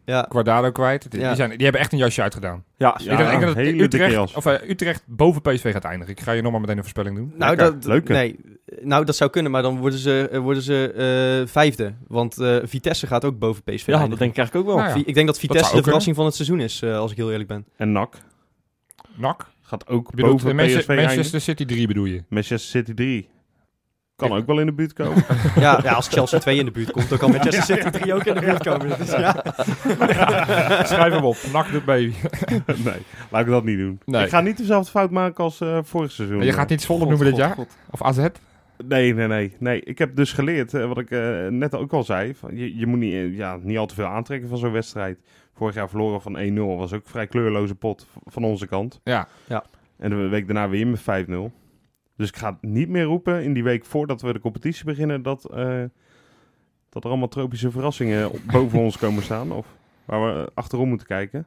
Speaker 2: Ja.
Speaker 4: Guardado kwijt. Die,
Speaker 2: Ja.
Speaker 4: die zijn, die hebben echt een jasje uitgedaan.
Speaker 3: Ja,
Speaker 1: Ja.
Speaker 4: ik denk, ik denk dat
Speaker 1: hele dikke
Speaker 4: Utrecht,
Speaker 1: jas.
Speaker 4: of, eh, Utrecht boven PSV gaat eindigen. Ik ga je nog maar meteen een voorspelling doen.
Speaker 2: Nou,
Speaker 1: Lekker.
Speaker 2: dat,
Speaker 1: Leuke.
Speaker 2: nee, nou, dat zou kunnen, maar dan worden ze, eh, worden ze eh, vijfde. Want eh, Vitesse gaat ook boven PSV.
Speaker 3: ja,
Speaker 2: eindigen.
Speaker 3: dat denk ik eigenlijk ook wel.
Speaker 4: Nou ja.
Speaker 2: Vi- Ik denk dat
Speaker 4: zou
Speaker 2: Vitesse
Speaker 4: ook
Speaker 2: de verrassing van het seizoen is, eh, als ik heel eerlijk ben.
Speaker 1: En NAC
Speaker 4: Nak.
Speaker 1: gaat ook
Speaker 4: Je bedoelt
Speaker 1: boven
Speaker 4: Manchester,
Speaker 1: PSV eindigen.
Speaker 4: Manchester City 3 bedoel je?
Speaker 1: Manchester City 3. Kan
Speaker 4: Ik-
Speaker 1: ook wel in de buurt komen.
Speaker 2: Ja, ja als Chelsea 2 in de buurt komt, dan kan Manchester City 3 ook in de buurt komen. Dat is- ja.
Speaker 4: Schrijf hem op. Nak doet mee.
Speaker 1: nee, laat ik dat niet doen.
Speaker 4: Nee.
Speaker 1: Ik ga niet dezelfde fout maken als eh, vorig seizoen.
Speaker 4: Je gaat niet Zwolle noemen dit jaar? Of AZ?
Speaker 1: Nee, nee, nee, nee. Ik heb dus geleerd, eh, wat ik eh, net ook al zei. Van, je, je moet niet, eh, ja, niet al te veel aantrekken van zo'n wedstrijd. Vorig jaar verloren van 1-0. was ook een vrij kleurloze pot v- van onze kant.
Speaker 4: Ja.
Speaker 2: Ja.
Speaker 1: En de week daarna weer met 5-0. Dus ik ga het niet meer roepen in die week voordat we de competitie beginnen... dat, eh, dat er allemaal tropische verrassingen op- boven ons komen staan. Of waar we eh, achterom moeten kijken.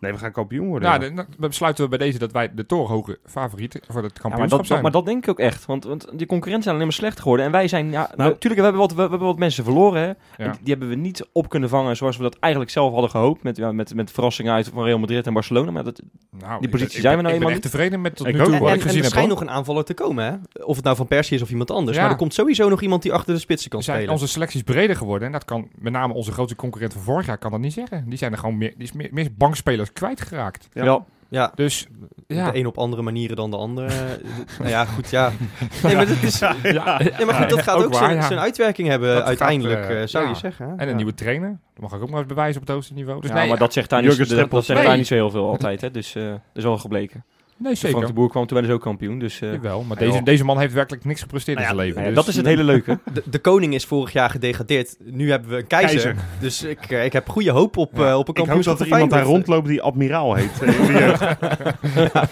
Speaker 1: Nee, we gaan kampioen worden.
Speaker 4: Nou,
Speaker 1: ja.
Speaker 4: dan dan besluiten we bij deze dat wij de torenhoge favorieten voor het
Speaker 3: Ja, maar,
Speaker 4: kampioenschap
Speaker 3: dat,
Speaker 4: zijn.
Speaker 3: maar dat denk ik ook echt. Want, want die concurrenten zijn alleen maar slecht geworden. En wij zijn, ja,
Speaker 1: Nou-
Speaker 3: natuurlijk, we hebben, wat, we, we hebben wat mensen verloren. Hè? En
Speaker 4: Ja.
Speaker 3: die hebben we niet op kunnen vangen zoals we dat eigenlijk zelf hadden gehoopt. Met, ja, met, met verrassingen uit van Real Madrid en Barcelona. Maar dat,
Speaker 4: Nou,
Speaker 3: die
Speaker 4: ik ben-
Speaker 3: positie
Speaker 4: ik
Speaker 3: zijn we
Speaker 4: ben-
Speaker 3: nou
Speaker 4: Ik ben
Speaker 3: eenmaal
Speaker 4: echt tevreden met tot
Speaker 1: Ik
Speaker 4: nu
Speaker 1: ook.
Speaker 4: toe
Speaker 2: En,
Speaker 4: wat
Speaker 2: en,
Speaker 4: ik
Speaker 2: en
Speaker 4: gezien
Speaker 2: er
Speaker 4: heb.
Speaker 2: schijnt
Speaker 4: hoor.
Speaker 2: nog een aanvaller te komen, hè? Of het nou van Persie is of iemand anders.
Speaker 4: Ja.
Speaker 2: Maar er komt sowieso nog iemand die achter de spitsen kan
Speaker 4: Zijn
Speaker 2: spelen.
Speaker 4: onze selecties breder geworden. En dat kan met name onze grootste concurrent van vorig jaar kan dat niet zeggen. Die zijn er gewoon meer, die is meer, meer bankspelers kwijtgeraakt.
Speaker 1: Ja.
Speaker 3: ja.
Speaker 2: Ja.
Speaker 4: Dus ja,
Speaker 2: De een op andere manieren dan de andere. nou ja, goed, ja. Nee, maar, dat is, nee,
Speaker 4: ja.
Speaker 2: maar goed, dat gaat
Speaker 4: Ook
Speaker 2: ook,
Speaker 4: waar,
Speaker 2: zijn,
Speaker 4: ja.
Speaker 2: zijn uitwerking hebben
Speaker 4: Dat gaat,
Speaker 2: uiteindelijk,
Speaker 4: eh,
Speaker 2: eh, zou
Speaker 4: ja.
Speaker 2: je zeggen. hè?
Speaker 4: En een
Speaker 2: Ja.
Speaker 4: nieuwe trainer. Dat mag ik ook maar eens bewijzen op het hoogste niveau. Dus
Speaker 3: Ja,
Speaker 4: nee,
Speaker 3: maar dat zegt daar niet,
Speaker 1: Jurgen
Speaker 3: dat- dat,
Speaker 1: Streppel.
Speaker 3: zegt
Speaker 4: Nee.
Speaker 3: daar niet zo heel veel altijd. Hè? Dus eh, dat is wel gebleken.
Speaker 4: nee
Speaker 3: Frank
Speaker 4: zeker.
Speaker 3: de Boer kwam toen wel eens ook kampioen. Dus eh,
Speaker 4: Jawel, maar
Speaker 1: Ja,
Speaker 4: deze,
Speaker 1: joh.
Speaker 4: deze man heeft werkelijk niks gepresteerd
Speaker 1: Nou
Speaker 4: in
Speaker 1: ja,
Speaker 4: zijn leven.
Speaker 3: nou ja,
Speaker 4: Dus-
Speaker 3: dat is het hele leuke.
Speaker 2: De, de koning is vorig jaar gedegradeerd. Nu hebben we een keizer.
Speaker 1: Keizer.
Speaker 2: Dus ik, eh, ik heb goede hoop op, eh, op een
Speaker 1: Ik hoop
Speaker 2: kampioenschap
Speaker 1: dat er
Speaker 2: voor
Speaker 1: iemand daar
Speaker 2: Feyenoord.
Speaker 1: rondloopt die admiraal heet. eh, in de jeugd.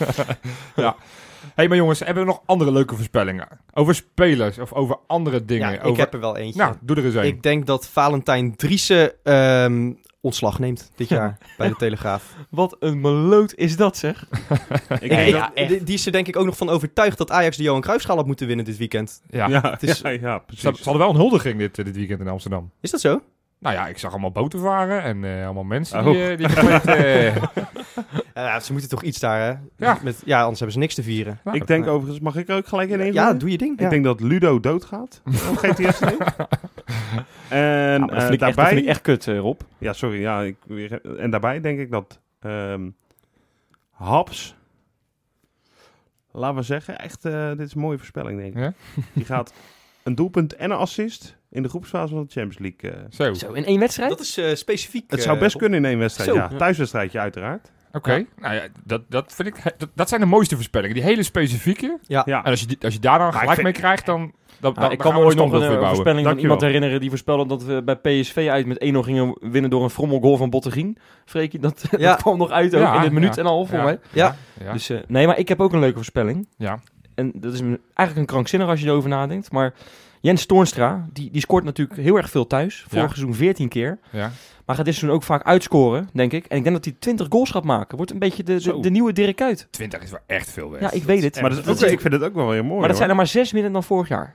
Speaker 4: hey, maar jongens, hebben we nog andere leuke voorspellingen? Over spelers of over andere dingen?
Speaker 2: Ja, ik
Speaker 4: over...
Speaker 2: heb er wel eentje.
Speaker 4: Nou, doe er eens een.
Speaker 2: ik denk dat Valentijn Driessen ehm, ontslag neemt dit jaar bij de Telegraaf.
Speaker 3: Wat een meloot is dat zeg.
Speaker 1: Ik
Speaker 2: Ik-
Speaker 1: denk dat-
Speaker 2: ik- die, die is er denk ik ook nog van overtuigd dat Ajax de Johan Cruijffschaal had moeten winnen dit weekend.
Speaker 4: Ja.
Speaker 1: Ja,
Speaker 2: het is-
Speaker 1: ja, ja, precies.
Speaker 4: Ze, ze hadden wel een huldiging dit, eh, dit weekend in Amsterdam.
Speaker 2: Is dat zo?
Speaker 4: Nou ja, ik zag allemaal boten varen en eh, allemaal mensen
Speaker 1: Oh.
Speaker 4: die, eh, die gekleed, eh,
Speaker 2: Ja, ze moeten toch iets daar, hè?
Speaker 4: Ja.
Speaker 2: Met, ja, anders hebben ze niks te vieren.
Speaker 4: nou,
Speaker 1: ik denk overigens, mag ik er ook gelijk in één
Speaker 2: Ja,
Speaker 1: gooien?
Speaker 2: doe je ding.
Speaker 1: Ik
Speaker 2: ja.
Speaker 1: denk dat Ludo doodgaat op GTS 2. en eh,
Speaker 3: Ja, maar dat, vind ik echt, dat
Speaker 1: daarbij...
Speaker 3: vind ik echt kut eh, Rob.
Speaker 1: Ja, sorry. Ja, ik, weer- en daarbij denk ik dat ehm Haps, laten we zeggen, echt, eh, dit is een mooie voorspelling denk ik.
Speaker 4: Ja?
Speaker 1: Die gaat een doelpunt en een assist in de groepsfase van de Champions League. eh.
Speaker 4: Zo, oké.
Speaker 3: Zo, in één wedstrijd?
Speaker 2: Dat is eh, specifiek.
Speaker 1: het zou
Speaker 2: eh,
Speaker 1: best kunnen in één wedstrijd,
Speaker 2: Zo.
Speaker 1: ja. Thuiswedstrijdje uiteraard.
Speaker 4: Nou ja, dat, dat vind ik... Dat, dat zijn de mooiste voorspellingen. Die hele specifieke.
Speaker 2: Ja.
Speaker 1: Ja.
Speaker 4: En als je, die- als je daar dan
Speaker 1: ik
Speaker 4: gelijk
Speaker 1: vind-
Speaker 4: mee krijgt, dan... dan,
Speaker 3: Ja,
Speaker 4: dan
Speaker 3: ik
Speaker 4: Nou, dan
Speaker 3: kan
Speaker 4: gaan
Speaker 3: me
Speaker 4: we dus
Speaker 3: ooit nog
Speaker 4: een
Speaker 3: een,
Speaker 4: standbeeld
Speaker 3: eh,
Speaker 4: weer bouwen.
Speaker 3: voorspelling van
Speaker 1: Dankjewel.
Speaker 3: iemand herinneren die voorspelde dat we bij PSV uit met 1-0 gingen winnen door een frommelgoal van Bottegien. Freekie, dat,
Speaker 2: Ja.
Speaker 3: dat kwam nog uit ook
Speaker 4: Ja,
Speaker 3: in het minuut
Speaker 4: ja.
Speaker 3: en al voor
Speaker 4: Ja.
Speaker 3: mij.
Speaker 2: Ja.
Speaker 4: Ja.
Speaker 3: Dus, eh, nee, maar ik heb ook een leuke voorspelling.
Speaker 4: Ja.
Speaker 3: En dat is een- eigenlijk een krankzinnig als je erover nadenkt. Maar Jens Toornstra, die, die scoort natuurlijk heel erg veel thuis. Vorig
Speaker 4: Ja.
Speaker 3: seizoen 14 keer.
Speaker 4: ja.
Speaker 3: Maar gaat dit seizoen ook vaak uitscoren, denk ik. En ik denk dat hij 20 goals gaat maken. Wordt een beetje de, de,
Speaker 1: Zo.
Speaker 3: de nieuwe Dirk Kuyt.
Speaker 4: 20 is wel echt veel weg.
Speaker 3: Ja, ik weet het.
Speaker 1: maar dat is ook, ik vind het ook wel weer mooi
Speaker 3: maar dat
Speaker 1: hoor.
Speaker 3: zijn er maar zes minder dan vorig jaar.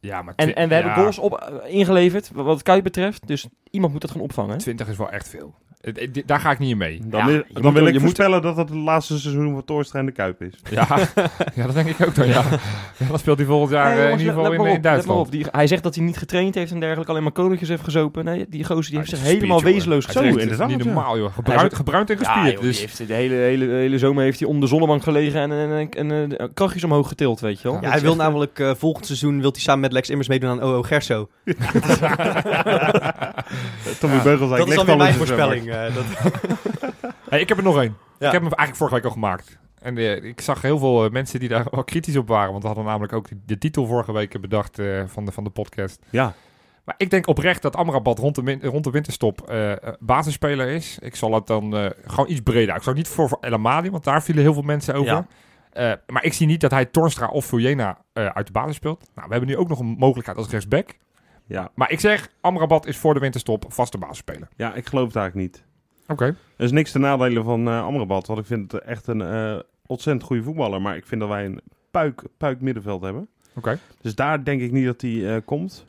Speaker 4: Ja, maar
Speaker 3: En,
Speaker 4: twi-
Speaker 3: en we hebben
Speaker 4: ja,
Speaker 3: goals op, eh, ingeleverd, wat het Kuit betreft. Dus iemand moet dat gaan opvangen.
Speaker 4: 20 is wel echt veel. Het- het- dit- Daar ga ik niet in mee.
Speaker 1: Dan,
Speaker 3: Ja,
Speaker 1: is-
Speaker 3: je
Speaker 1: dan
Speaker 3: moet-
Speaker 1: wil
Speaker 3: je
Speaker 1: ik
Speaker 3: moet-
Speaker 1: voorspellen dat het het laatste seizoen van Toorstra en de Kuip is.
Speaker 4: Ja, ja dat denk ik ook dan, ja. Ja, dat speelt hij volgend jaar
Speaker 3: Nee,
Speaker 4: eh,
Speaker 3: jongens,
Speaker 4: in ieder
Speaker 3: let-
Speaker 4: geval
Speaker 3: let maar
Speaker 4: in, in
Speaker 3: op, let maar
Speaker 4: Duitsland.
Speaker 3: op. Die, hij zegt dat hij niet getraind heeft en dergelijke, alleen maar koninkjes heeft gezopen. Nee, die gozer die heeft zich
Speaker 4: Ja,
Speaker 3: helemaal
Speaker 4: gespierd,
Speaker 3: wezenloos
Speaker 4: jongen. Hij
Speaker 1: Zo,
Speaker 4: is echt
Speaker 1: inderdaad,
Speaker 4: Niet
Speaker 1: ja.
Speaker 4: normaal, joh.
Speaker 3: Hij is
Speaker 4: Gebruind,
Speaker 3: ook-
Speaker 4: gebruind en gespierd.
Speaker 3: joh, die
Speaker 4: dus
Speaker 3: heeft de hele, hele, hele zomer heeft hij om de zonnebank gelegen en, en, en, en, eh, krachtjes omhoog getild, weet je wel.
Speaker 4: Ja,
Speaker 2: Ja, hij
Speaker 3: Dat is
Speaker 2: wil
Speaker 3: echt, eh,
Speaker 2: namelijk eh, volgend seizoen wil hij samen met Lex Immers meedoen aan OO Gerso.
Speaker 1: Eh, Tommy Beugel zei,
Speaker 2: Dat
Speaker 1: ik leg
Speaker 2: is
Speaker 1: wel eens
Speaker 2: dan weer mijn
Speaker 1: een zwemmer.
Speaker 2: voorspelling. eh, dat...
Speaker 4: Hey, ik heb er nog één.
Speaker 2: Ja.
Speaker 4: Ik heb hem eigenlijk vorige week al gemaakt. En eh, ik zag heel veel eh, mensen die daar wel kritisch op waren. Want we hadden namelijk ook de titel vorige week bedacht eh, van, de, van de podcast.
Speaker 1: Ja,
Speaker 4: Maar ik denk oprecht dat Amrabat rond de, win- rond de winterstop eh, eh, basisspeler is. Ik zal het dan eh, gewoon iets breder uit. Ik zou het niet voor, voor El Amadi, want daar vielen heel veel mensen over.
Speaker 3: Ja.
Speaker 4: Eh, maar ik zie niet dat hij Tornstra of Fujena eh, uit de basis speelt. Nou, we hebben nu ook nog een mogelijkheid als rechtsback.
Speaker 1: ja.
Speaker 4: Maar ik zeg, Amrabat is voor de winterstop vaste basisspeler.
Speaker 1: ja, ik geloof het eigenlijk niet.
Speaker 4: Oké.
Speaker 1: Er is niks te nadelen van eh Amrabat, want ik vind het echt een eh, ontzettend goede voetballer. Maar ik vind dat wij een puik, puik middenveld hebben.
Speaker 4: Oké.
Speaker 1: Dus daar denk ik niet dat hij eh, komt.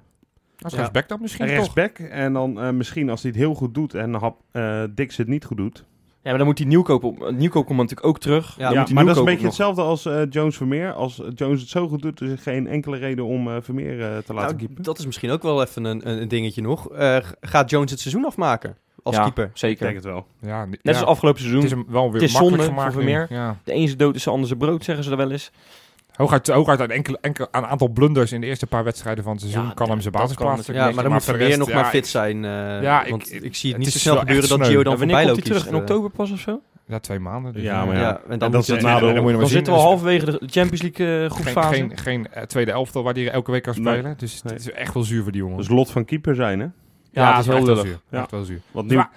Speaker 4: Als
Speaker 2: Ja.
Speaker 4: rechtsback dan misschien toch?
Speaker 1: rechtsback. En dan eh, misschien als hij het heel goed doet en Hap, eh, Dix het niet goed doet.
Speaker 3: Ja, maar dan moet die nieuwkoop, op, nieuwkoop komt natuurlijk ook terug.
Speaker 2: Ja,
Speaker 3: Dan
Speaker 1: Ja,
Speaker 3: moet die
Speaker 1: maar dat is een
Speaker 3: nieuwkoop
Speaker 1: beetje
Speaker 3: nog.
Speaker 1: hetzelfde als eh, Jones Vermeer. Als eh, Jones het zo goed doet, is er geen enkele reden om eh, Vermeer eh, te laten
Speaker 2: Nou,
Speaker 1: keepen.
Speaker 2: dat is misschien ook wel even een, een, een dingetje nog. Eh, g- gaat Jones het seizoen afmaken als
Speaker 3: Ja,
Speaker 2: keeper?
Speaker 1: Ik denk
Speaker 3: Zeker.
Speaker 1: het wel.
Speaker 4: Ja, ni-
Speaker 3: Net
Speaker 4: ja.
Speaker 3: als afgelopen seizoen.
Speaker 4: Het is hem wel weer
Speaker 3: Het is
Speaker 4: makkelijk
Speaker 3: zonde
Speaker 4: gemaakt
Speaker 3: voor
Speaker 4: nu.
Speaker 3: Vermeer.
Speaker 4: Ja.
Speaker 3: De een zijn dood is de ander zijn brood, zeggen ze er wel eens.
Speaker 4: Hooguit, hooguit aan enkele, enkele, aan een aantal blunders in de eerste paar wedstrijden van het seizoen
Speaker 3: Ja,
Speaker 4: kan hem zijn
Speaker 3: dat
Speaker 4: basis
Speaker 3: kan
Speaker 4: plaatsen.
Speaker 2: Ja, maar dan moet
Speaker 4: voor de
Speaker 2: Vermeer
Speaker 4: rest,
Speaker 2: nog
Speaker 4: ja,
Speaker 2: maar fit zijn. eh,
Speaker 4: ja, ik-
Speaker 2: want ik, zie het
Speaker 4: het
Speaker 2: niet zo
Speaker 4: is
Speaker 2: snel
Speaker 4: wel echt
Speaker 2: gebeuren dat
Speaker 4: sneu.
Speaker 2: Gio
Speaker 4: En
Speaker 2: dan
Speaker 3: En
Speaker 2: voor
Speaker 3: wanneer
Speaker 2: Bijlo
Speaker 3: komt hij
Speaker 2: kiest.
Speaker 3: terug? In
Speaker 2: eh.
Speaker 3: oktober pas of zo?
Speaker 4: Ja, twee maanden. dus
Speaker 1: Ja, maar
Speaker 2: Ja,
Speaker 1: ja.
Speaker 2: en
Speaker 1: En
Speaker 2: dan
Speaker 1: dat
Speaker 2: moet
Speaker 1: is
Speaker 2: je
Speaker 1: het
Speaker 2: natuurlijk-
Speaker 1: nadeel.
Speaker 4: Dan moet je maar
Speaker 3: Dan
Speaker 4: zien.
Speaker 3: zitten we
Speaker 4: Dus
Speaker 3: halverwege de Champions League eh,
Speaker 4: Geen,
Speaker 3: groepfase.
Speaker 4: geen, geen eh, tweede elftal waar die elke week kan
Speaker 1: Nee.
Speaker 4: spelen. Dus
Speaker 1: Nee.
Speaker 4: het is echt wel zuur voor die jongen.
Speaker 1: Dat is lot van keeper zijn, hè?
Speaker 3: Ja, het is heel
Speaker 4: echt wel
Speaker 3: lullig.
Speaker 4: zuur.
Speaker 1: Ja.
Speaker 4: Echt wel zuur.
Speaker 1: Want nu...
Speaker 4: Maar-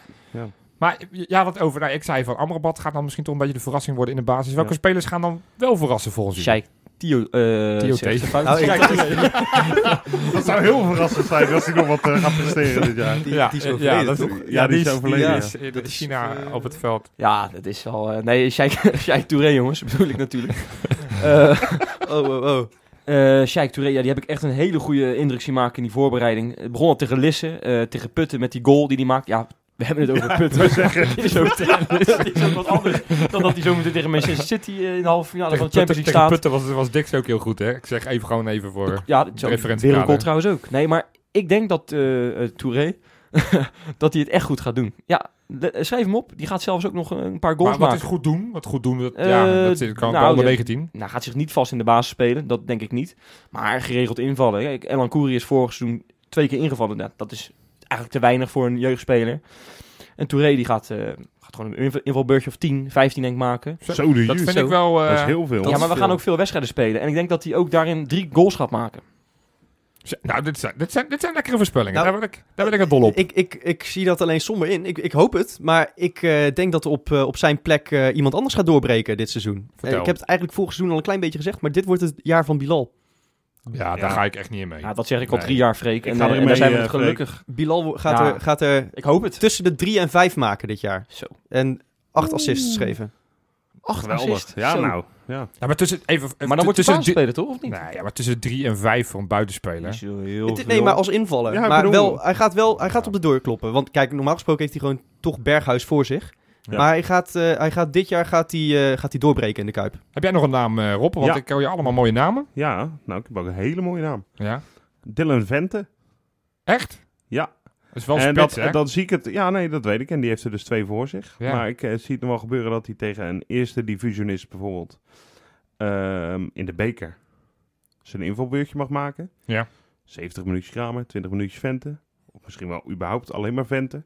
Speaker 4: Maar ja, dat over. Nou, ik zei van Amrabat gaat dan misschien toch een beetje de verrassing worden in de basis. Welke
Speaker 1: Ja.
Speaker 4: spelers gaan dan wel verrassen volgens u?
Speaker 3: Sheik Tio... eh,
Speaker 4: Tio
Speaker 3: zegt
Speaker 4: T.
Speaker 3: de fout.
Speaker 2: Nou, ik-
Speaker 3: Sheik
Speaker 1: dat zou heel verrassend zijn als hij nog wat eh, gaat presteren dit jaar.
Speaker 2: Die, die is
Speaker 4: eh,
Speaker 2: overleden,
Speaker 4: ja, dat,
Speaker 2: toch?
Speaker 1: Ja, die is overleden,
Speaker 4: die
Speaker 1: ja.
Speaker 4: is in
Speaker 2: Dat is,
Speaker 4: China
Speaker 2: eh,
Speaker 4: op het veld.
Speaker 3: Ja, dat is al. eh, nee, Sheikh Sheikh Touré, jongens, bedoel ik natuurlijk. Eh
Speaker 2: Oh, oh, oh.
Speaker 3: eh Sheikh Touré, ja, die heb ik echt een hele goede indruk zien maken in die voorbereiding. Het begon al tegen Lisse, eh, tegen Putten met die goal die hij maakt. Ja, we hebben het over Putten.
Speaker 1: we zeggen-
Speaker 3: Dit is ook, dit is ook wat anders dan dat hij zo meteen tegen Manchester City eh, in de halve finale
Speaker 4: Tegen
Speaker 3: van de Champions
Speaker 4: Putten,
Speaker 3: League
Speaker 4: tegen
Speaker 3: staat.
Speaker 4: Putten was, was Dix ook heel goed, hè? Ik zeg even gewoon even voor...
Speaker 3: Ja, dat is ook een
Speaker 4: Referentiekader.
Speaker 3: wereldgoal trouwens ook. Nee, maar ik denk dat eh, eh, Touré, dat hij het echt goed gaat doen. Ja, le- eh, schrijf hem op. Die gaat zelfs ook nog een paar goals
Speaker 4: Maar wat
Speaker 3: maken.
Speaker 4: is goed doen? Wat goed doen, dat,
Speaker 3: Eh,
Speaker 4: ja, dat zit- kan
Speaker 3: nou,
Speaker 4: kan onder
Speaker 3: ja.
Speaker 4: 19.
Speaker 3: Nou, gaat zich niet vast in de basis spelen, dat denk ik niet. Maar geregeld invallen. Kijk, Elan Koeri is vorig seizoen twee keer ingevallen. Nou, dat is eigenlijk te weinig voor een jeugdspeler. En Touré die gaat, eh, gaat gewoon een inv- invalbeurtje of 10, 15 denk ik maken.
Speaker 1: Zo de
Speaker 4: Dat
Speaker 1: juist.
Speaker 4: vind ik wel... eh,
Speaker 1: Dat is heel veel.
Speaker 3: ja,
Speaker 2: is
Speaker 3: maar we
Speaker 2: veel.
Speaker 3: gaan ook veel wedstrijden spelen. En ik denk dat hij ook daarin drie goals gaat maken.
Speaker 4: z- Nou, dit zijn, dit zijn, dit zijn lekkere voorspellingen.
Speaker 2: Nou,
Speaker 4: daar, ben ik, daar ben ik het dol op.
Speaker 2: Ik, ik, ik zie dat alleen somber in. Ik, ik hoop het, maar ik eh, denk dat er op, eh, op zijn plek eh, iemand anders gaat doorbreken dit seizoen.
Speaker 4: Vertel.
Speaker 2: Eh, ik heb het eigenlijk vorig seizoen al een klein beetje gezegd, maar dit wordt het jaar van Bilal.
Speaker 4: ja, daar
Speaker 1: Ja.
Speaker 4: ga ik echt niet in mee.
Speaker 3: Ja, Nou, dat zeg ik al
Speaker 4: Nee.
Speaker 3: drie jaar, Freek.
Speaker 1: Ik
Speaker 3: En,
Speaker 1: ga
Speaker 3: eh,
Speaker 1: erin
Speaker 3: en daar
Speaker 1: mee,
Speaker 3: zijn we het
Speaker 1: eh, Freek.
Speaker 3: gelukkig.
Speaker 2: Bilal wo- gaat,
Speaker 3: Ja.
Speaker 2: er, gaat er
Speaker 3: Ik hoop het.
Speaker 2: tussen de drie en vijf maken dit jaar.
Speaker 3: Zo.
Speaker 2: En acht assists geven.
Speaker 3: Acht
Speaker 1: Geweldig.
Speaker 3: assists.
Speaker 1: Ja,
Speaker 3: Zo.
Speaker 1: nou. Ja.
Speaker 4: Ja, maar tussen... Even,
Speaker 3: Maar dan wordt hij
Speaker 4: tussen,
Speaker 3: basisspeler, toch? Of niet?
Speaker 4: Nee, ja, maar tussen 3 en 5 voor een buitenspeler.
Speaker 3: Niet zo heel
Speaker 2: Het- nee,
Speaker 3: veel.
Speaker 2: maar als invaller.
Speaker 1: Ja, ik
Speaker 2: maar
Speaker 1: bedoel-
Speaker 2: wel, hij gaat wel hij gaat op de deur kloppen. Want kijk, normaal gesproken heeft hij gewoon toch Berghuis voor zich.
Speaker 1: Ja.
Speaker 2: Maar hij gaat, eh, hij gaat dit jaar gaat hij, eh, gaat hij doorbreken in de Kuip.
Speaker 4: Heb jij nog een naam, eh Rob? Want
Speaker 1: Ja.
Speaker 4: ik ken je allemaal mooie namen.
Speaker 1: ja, nou, ik heb ook een hele mooie naam.
Speaker 4: Ja.
Speaker 1: Dylan Vente.
Speaker 4: Echt?
Speaker 1: Ja.
Speaker 4: Dat is wel
Speaker 1: en
Speaker 4: spits,
Speaker 1: dat,
Speaker 4: hè?
Speaker 1: dan zie ik het. Ja, nee, dat weet ik. En die heeft er dus twee voor zich.
Speaker 4: Ja.
Speaker 1: Maar ik eh, zie het nog wel gebeuren dat hij tegen een eerste divisionist bijvoorbeeld ehm, in de beker zijn invalbeurtje mag maken.
Speaker 4: Ja.
Speaker 1: 70 minuutjes Kramer, 20 minuutjes Venten. Of misschien wel überhaupt alleen maar Venten.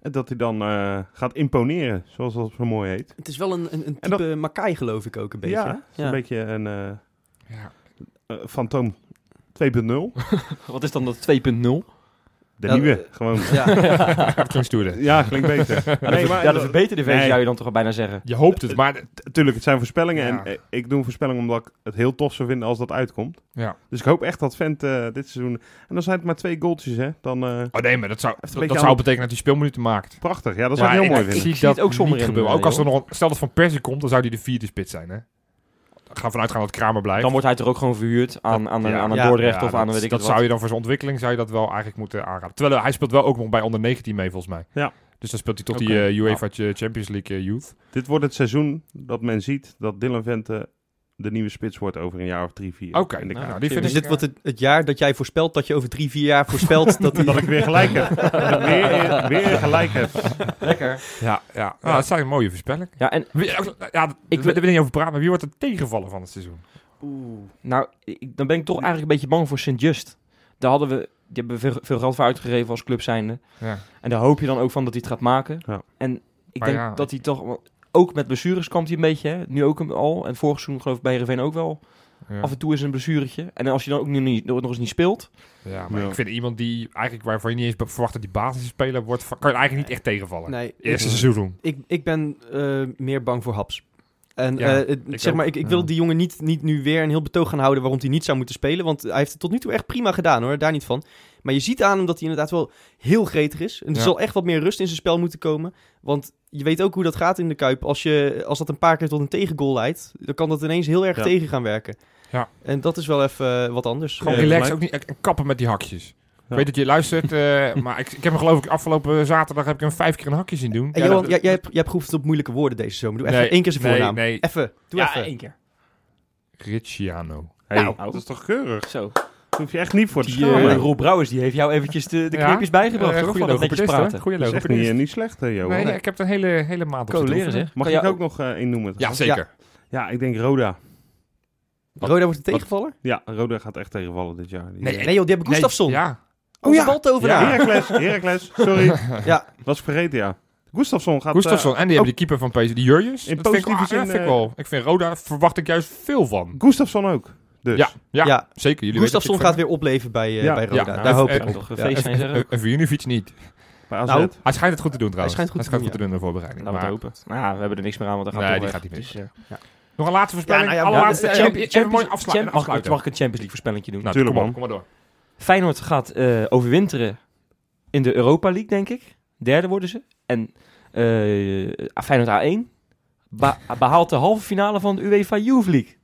Speaker 1: En dat hij dan eh, gaat imponeren, zoals dat zo mooi heet.
Speaker 2: Het is wel een, een, een
Speaker 1: En dat-
Speaker 2: type Makai geloof ik ook een beetje.
Speaker 1: ja,
Speaker 2: hè?
Speaker 1: het is een beetje een eh
Speaker 4: Ja.
Speaker 1: eh, fantoom 2.0.
Speaker 3: Wat is dan dat 2.0?
Speaker 1: De
Speaker 2: Ja,
Speaker 1: nieuwe, gewoon.
Speaker 2: Ja.
Speaker 4: Dat klinkt stoerder.
Speaker 1: Ja, klinkt beter. Nee, maar,
Speaker 3: ja, de verbeterde versie
Speaker 1: Nee.
Speaker 3: zou je dan toch wel bijna zeggen.
Speaker 4: Je hoopt het, maar...
Speaker 1: Tuurlijk, het zijn voorspellingen.
Speaker 4: Ja.
Speaker 1: En eh, ik doe een voorspelling omdat ik het heel tof zou vinden als dat uitkomt.
Speaker 4: Ja.
Speaker 1: Dus ik hoop echt dat Vent eh, dit seizoen... En dan zijn het maar twee goaltjes, hè. Dan eh,
Speaker 4: Oh nee, maar dat zou,
Speaker 1: een
Speaker 4: dat,
Speaker 1: beetje
Speaker 4: dat zou
Speaker 1: aan-
Speaker 4: betekenen dat hij speelminuten maakt.
Speaker 1: prachtig. Ja, dat zou ik heel mooi vinden.
Speaker 3: Ik zie het ook somber in,
Speaker 4: gebeuren.
Speaker 3: eh,
Speaker 4: Ook als er
Speaker 3: joh.
Speaker 4: nog een- stel dat Van Persie komt, dan zou hij de vierde spits zijn, hè? Ik ga vanuit gaan dat Kramer blijft.
Speaker 3: Dan wordt hij er ook gewoon verhuurd aan, aan, een-
Speaker 4: Ja.
Speaker 3: aan een
Speaker 2: Ja.
Speaker 3: Dordrecht
Speaker 4: Ja,
Speaker 3: of aan een
Speaker 4: dat,
Speaker 3: weet ik
Speaker 4: dat
Speaker 3: het
Speaker 4: zou
Speaker 3: wat.
Speaker 4: je dan voor zijn ontwikkeling zou je dat wel eigenlijk moeten aanraden. Terwijl eh, hij speelt wel ook nog bij onder 19 mee volgens mij.
Speaker 1: Ja.
Speaker 4: Dus dan speelt hij toch
Speaker 3: Oké.
Speaker 4: die eh, UEFA Champions League eh, Youth.
Speaker 1: Dit wordt het seizoen dat men ziet dat Dylan Vente de nieuwe spits wordt over een jaar of drie, vier.
Speaker 4: Oké,
Speaker 1: In de
Speaker 4: nou,
Speaker 1: Kuip.
Speaker 4: die vind
Speaker 2: Dus
Speaker 4: ik,
Speaker 2: dit wordt het, het jaar dat jij voorspelt dat je over drie, vier jaar voorspelt dat hij...
Speaker 1: Dat ik weer gelijk heb. Dat ik weer, weer gelijk heb.
Speaker 3: Lekker.
Speaker 4: Ja, ja. Nou, dat zijn een mooie voorspelling.
Speaker 3: Ja, en
Speaker 4: Wie- Ja, dat- daar wil ik niet over praten, maar wie wordt het tegenvallen van het seizoen?
Speaker 3: nou, ik, dan ben ik toch eigenlijk een beetje bang voor Sint-Just. Daar hadden we, die hebben we veel, veel geld voor uitgegeven als club zijnde.
Speaker 4: Ja.
Speaker 3: En daar hoop je dan ook van dat hij het gaat maken.
Speaker 1: Ja.
Speaker 3: En ik
Speaker 4: Maar
Speaker 3: denk
Speaker 4: ja.
Speaker 3: dat hij toch... wel- Ook met blessures kampt hij een beetje, hè? nu ook al. En vorig seizoen geloof ik bij Heerenveen ook wel.
Speaker 4: Ja.
Speaker 3: Af en toe is een blessuretje. En als je dan ook nu niet, nog eens niet speelt...
Speaker 4: Ja, maar
Speaker 1: Ja.
Speaker 4: ik vind iemand die eigenlijk waarvan je niet eens be- verwacht dat die basisspeler wordt, va- kan je eigenlijk niet echt tegenvallen.
Speaker 2: Nee,
Speaker 4: Eerste seizoen doen.
Speaker 2: ik, ik ben eh, meer bang voor Haps. En
Speaker 4: Ja,
Speaker 2: eh, het-
Speaker 4: ik
Speaker 2: zeg
Speaker 4: ook.
Speaker 2: maar, ik, ik
Speaker 4: Ja.
Speaker 2: wil die jongen niet, niet nu weer een heel betoog gaan houden waarom hij niet zou moeten spelen. Want hij heeft het tot nu toe echt prima gedaan hoor, daar niet van. Maar je ziet aan hem dat hij inderdaad wel heel gretig is. En er
Speaker 4: Ja.
Speaker 2: zal echt wat meer rust in zijn spel moeten komen. Want je weet ook hoe dat gaat in de Kuip. Als, je, als dat een paar keer tot een tegengoal leidt, dan kan dat ineens heel erg
Speaker 1: Ja.
Speaker 2: tegen gaan werken.
Speaker 4: Ja.
Speaker 2: En dat is wel even eh, wat anders.
Speaker 4: Gewoon
Speaker 1: Ja,
Speaker 4: relax,
Speaker 1: maar-
Speaker 4: ook niet en kappen met die hakjes.
Speaker 1: Ja.
Speaker 4: Ik weet dat je luistert, eh, maar ik, ik heb hem geloof ik afgelopen zaterdag heb ik hem vijf keer een hakje zien doen.
Speaker 2: En
Speaker 4: Ja,
Speaker 2: Johan,
Speaker 4: dat-
Speaker 2: jij, jij, hebt, jij hebt geoefend op moeilijke woorden deze zomer. Doe even
Speaker 4: Nee,
Speaker 2: één keer zijn
Speaker 4: nee,
Speaker 2: voornaam.
Speaker 4: nee.
Speaker 2: Even, doe
Speaker 3: ja,
Speaker 2: even.
Speaker 3: één keer.
Speaker 4: Cristiano.
Speaker 1: Hey,
Speaker 3: Nou.
Speaker 1: dat is toch keurig?
Speaker 3: Zo.
Speaker 1: Daar hoef je echt niet voor te
Speaker 3: Die,
Speaker 1: schamen.
Speaker 3: eh, Rob Brouwers die heeft jou eventjes de, de
Speaker 4: Ja?
Speaker 3: kneepjes bijgebracht.
Speaker 4: Eh,
Speaker 3: hoor, van dat netjes
Speaker 4: logopedist,
Speaker 3: praten.
Speaker 4: hoor. Goeie
Speaker 1: dat is echt
Speaker 4: logopedist.
Speaker 1: niet, eh, niet slecht, hè, Johan.
Speaker 4: Nee, nee, ik heb er een hele, hele maand op
Speaker 3: Ko
Speaker 4: zitten
Speaker 3: leren
Speaker 4: oefenen.
Speaker 3: zeg.
Speaker 1: Mag
Speaker 3: Kan
Speaker 1: ik
Speaker 3: jij
Speaker 1: ook nog eh één noemen?
Speaker 4: Ja,
Speaker 1: trouwens?
Speaker 4: zeker.
Speaker 1: ja, ik denk Roda.
Speaker 4: Wat-
Speaker 2: Roda wordt de tegenvaller?
Speaker 1: Ja, Roda gaat echt tegenvallen dit jaar. Die- eh,
Speaker 4: Nee,
Speaker 2: Nee joh, die hebben Gustafsson.
Speaker 4: Ja.
Speaker 2: Onze
Speaker 3: ja.
Speaker 2: baltovenaar.
Speaker 4: Ja.
Speaker 1: Heracles, Heracles, sorry.
Speaker 2: Ja.
Speaker 1: Was vergeten, ja. Gustafsson gaat...
Speaker 4: Gustafsson. En die hebben die keeper van PSV, die Jurjus.
Speaker 1: eh, In
Speaker 4: Dat vind ik,
Speaker 1: positieve
Speaker 4: ah,
Speaker 1: zin,
Speaker 4: dat vind ik
Speaker 1: eh,
Speaker 4: wel. Ik vind Roda, verwacht ik juist veel van.
Speaker 1: eh, Gustafsson ook. Dus.
Speaker 4: Ja, ja,
Speaker 2: Ja.
Speaker 4: zeker. Jullie
Speaker 2: Gustafsson
Speaker 4: weten
Speaker 2: gaat
Speaker 4: dat ik
Speaker 2: weer opleven bij, eh,
Speaker 1: Ja.
Speaker 2: bij Roda.
Speaker 4: Ja,
Speaker 2: Daar
Speaker 4: nou,
Speaker 2: hoop
Speaker 4: eh,
Speaker 2: ik.
Speaker 3: Kan
Speaker 4: eh,
Speaker 2: op.
Speaker 3: toch een
Speaker 4: Ja,
Speaker 3: feest zijn,
Speaker 4: en-
Speaker 3: zeg
Speaker 4: en- En Vujinovic niet.
Speaker 1: Bij AZ.
Speaker 2: Nou,
Speaker 4: Hij schijnt het goed te doen trouwens.
Speaker 2: schijnt goed te doen,
Speaker 4: goed te doen in de voorbereiding.
Speaker 3: Laten we
Speaker 4: maar-
Speaker 3: het hopen. Nou, ja, we hebben er niks meer aan, want dan
Speaker 4: Nee,
Speaker 3: gaat
Speaker 4: die
Speaker 3: hij
Speaker 4: gaat
Speaker 3: weg.
Speaker 4: niet
Speaker 3: Dus, eh,
Speaker 4: Nog een laatste voorspelling.
Speaker 2: Ja, nou ja,
Speaker 4: Allerlaatste.
Speaker 2: ja,
Speaker 4: eh,
Speaker 2: Champions-
Speaker 4: even mooi afsluiten.
Speaker 3: Champ- mag, ik,
Speaker 4: afsluiten.
Speaker 3: mag ik een Champions League voorspellingje doen?
Speaker 4: Nou,
Speaker 1: Tuurlijk,
Speaker 4: kom,
Speaker 1: man.
Speaker 4: op, kom maar door.
Speaker 3: Feyenoord gaat eh, overwinteren in de Europa League, denk ik. Derde worden ze. En eh, Feyenoord A1 ba- behaalt de halve finale van de UEFA Youth League.